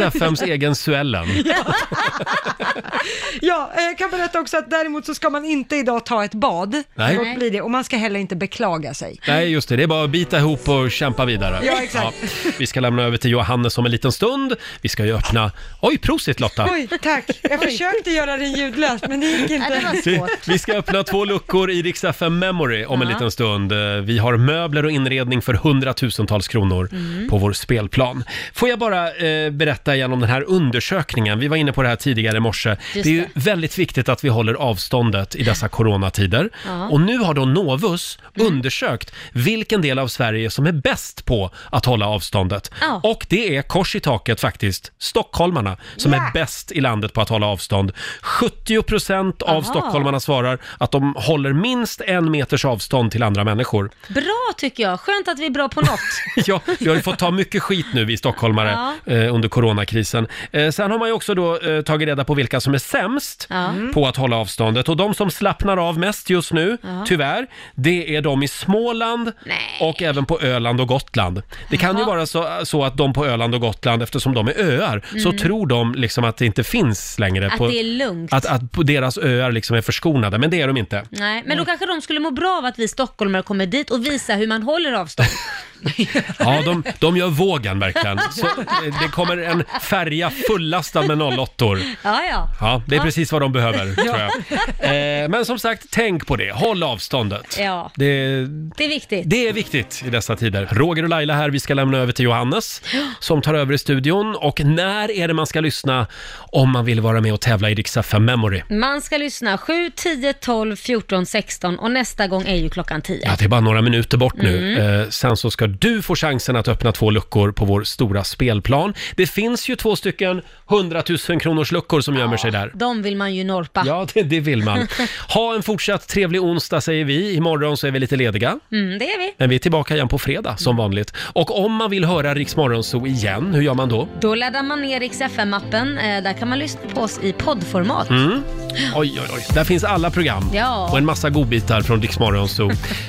Speaker 1: FMs egen Suellen.
Speaker 2: ja eh, jag kan berätta också att däremot så ska man inte idag ta ett bad.
Speaker 1: Nej.
Speaker 2: Låt bli det. Och man ska heller inte beklaga sig.
Speaker 1: Nej, just det. Det är bara att bita ihop och kämpa vidare.
Speaker 2: Ja, exakt.
Speaker 1: Ja. Vi ska lämna över till Johannes om en liten stund. Vi ska ju öppna... Oj, prosit Lotta!
Speaker 2: Oj, tack. Jag försökte göra den ljudlös, men det gick inte.
Speaker 1: Vi- Vi ska öppna två luckor i Rix FM Memory om en
Speaker 2: Ja.
Speaker 1: liten stund. Eh, Vi har möbler och inredning för hundratusentals kronor
Speaker 5: Mm.
Speaker 1: på vår spelplan. Får jag bara eh, berätta igen om den här undersökningen. Vi var inne på det här tidigare i morse. det. är ju
Speaker 5: det.
Speaker 1: väldigt viktigt att vi håller avståndet i dessa coronatider.
Speaker 5: Ja. Mm.
Speaker 1: Och nu har då Novus undersökt vilken del av Sverige som är bäst på att hålla avståndet.
Speaker 5: Ja.
Speaker 1: Och det är kors i taket faktiskt, stockholmarna, som
Speaker 5: Ja.
Speaker 1: är bäst i landet på att hålla avstånd. 70 procent av
Speaker 3: Aha.
Speaker 1: stockholmarna svarar att de håller minst en meters avstånd till andra människor.
Speaker 3: Bra tycker jag. Skönt att vi är bra på något.
Speaker 1: Ja, vi har ju fått ta mycket skit nu vi stockholmare eh, under coronakrisen. Eh, sen har man ju också då eh, tagit reda på vilka som är sämst
Speaker 5: Ja. Mm.
Speaker 1: på att hålla avståndet och de som slappnar av mest just nu,
Speaker 5: Ja.
Speaker 1: tyvärr, det är de i Småland och även på Öland och Gotland. Det kan ju vara så, så att de på Öland och Gotland, eftersom de är öar, så
Speaker 3: Mm.
Speaker 1: tror de liksom att det inte finns längre.
Speaker 3: Att
Speaker 1: på,
Speaker 3: det är lugnt.
Speaker 1: Att, att på deras öar liksom är förskonade, men det är de inte.
Speaker 3: Nej, men då kanske de skulle må bra av att vi stockholmare kommer dit och visar hur man håller avstånd.
Speaker 1: Ja, de, de gör vågen verkligen. Så, eh, det kommer en färja fullastad med 08
Speaker 3: Ja, ja.
Speaker 1: Ja, det är
Speaker 3: Ja.
Speaker 1: precis vad de behöver,
Speaker 3: Ja.
Speaker 1: tror jag. Eh, men som sagt, tänk på det. Håll avståndet.
Speaker 3: Ja,
Speaker 1: Det,
Speaker 3: det är viktigt.
Speaker 1: det är viktigt i dessa tider. Roger och Laila här, vi ska lämna över till Johannes som tar över i studion. Och när är det man ska lyssna om man vill vara med och tävla i Riksa 5 Memory?
Speaker 3: Man ska lyssna 7, 10, 12, 14, 16 och nästa gång är ju klockan 10.
Speaker 1: Ja, det är bara några minuter bort nu.
Speaker 3: Mm.
Speaker 1: Eh, sen så ska du få chansen att öppna två luckor på vår stora spelplan. Det finns ju två stycken 100 000 kronors luckor som gömmer sig där.
Speaker 3: De vill man ju norpa.
Speaker 1: Ja, det, det vill man. Ha en fortsatt trevlig onsdag säger vi. Imorgon så är vi lite lediga.
Speaker 3: Mm, det är vi.
Speaker 1: Men vi är tillbaka igen på fredag som vanligt. Och om man vill höra Rix Morgonzoo igen, hur gör man då?
Speaker 3: Då laddar man ner Rix FM-appen. Eh, där kan man lyssna på oss i poddformat.
Speaker 1: Mm. Oj, oj, oj. Där finns alla program
Speaker 3: Ah. Ja.
Speaker 1: och en massa godbitar från Rix Morgonzoo.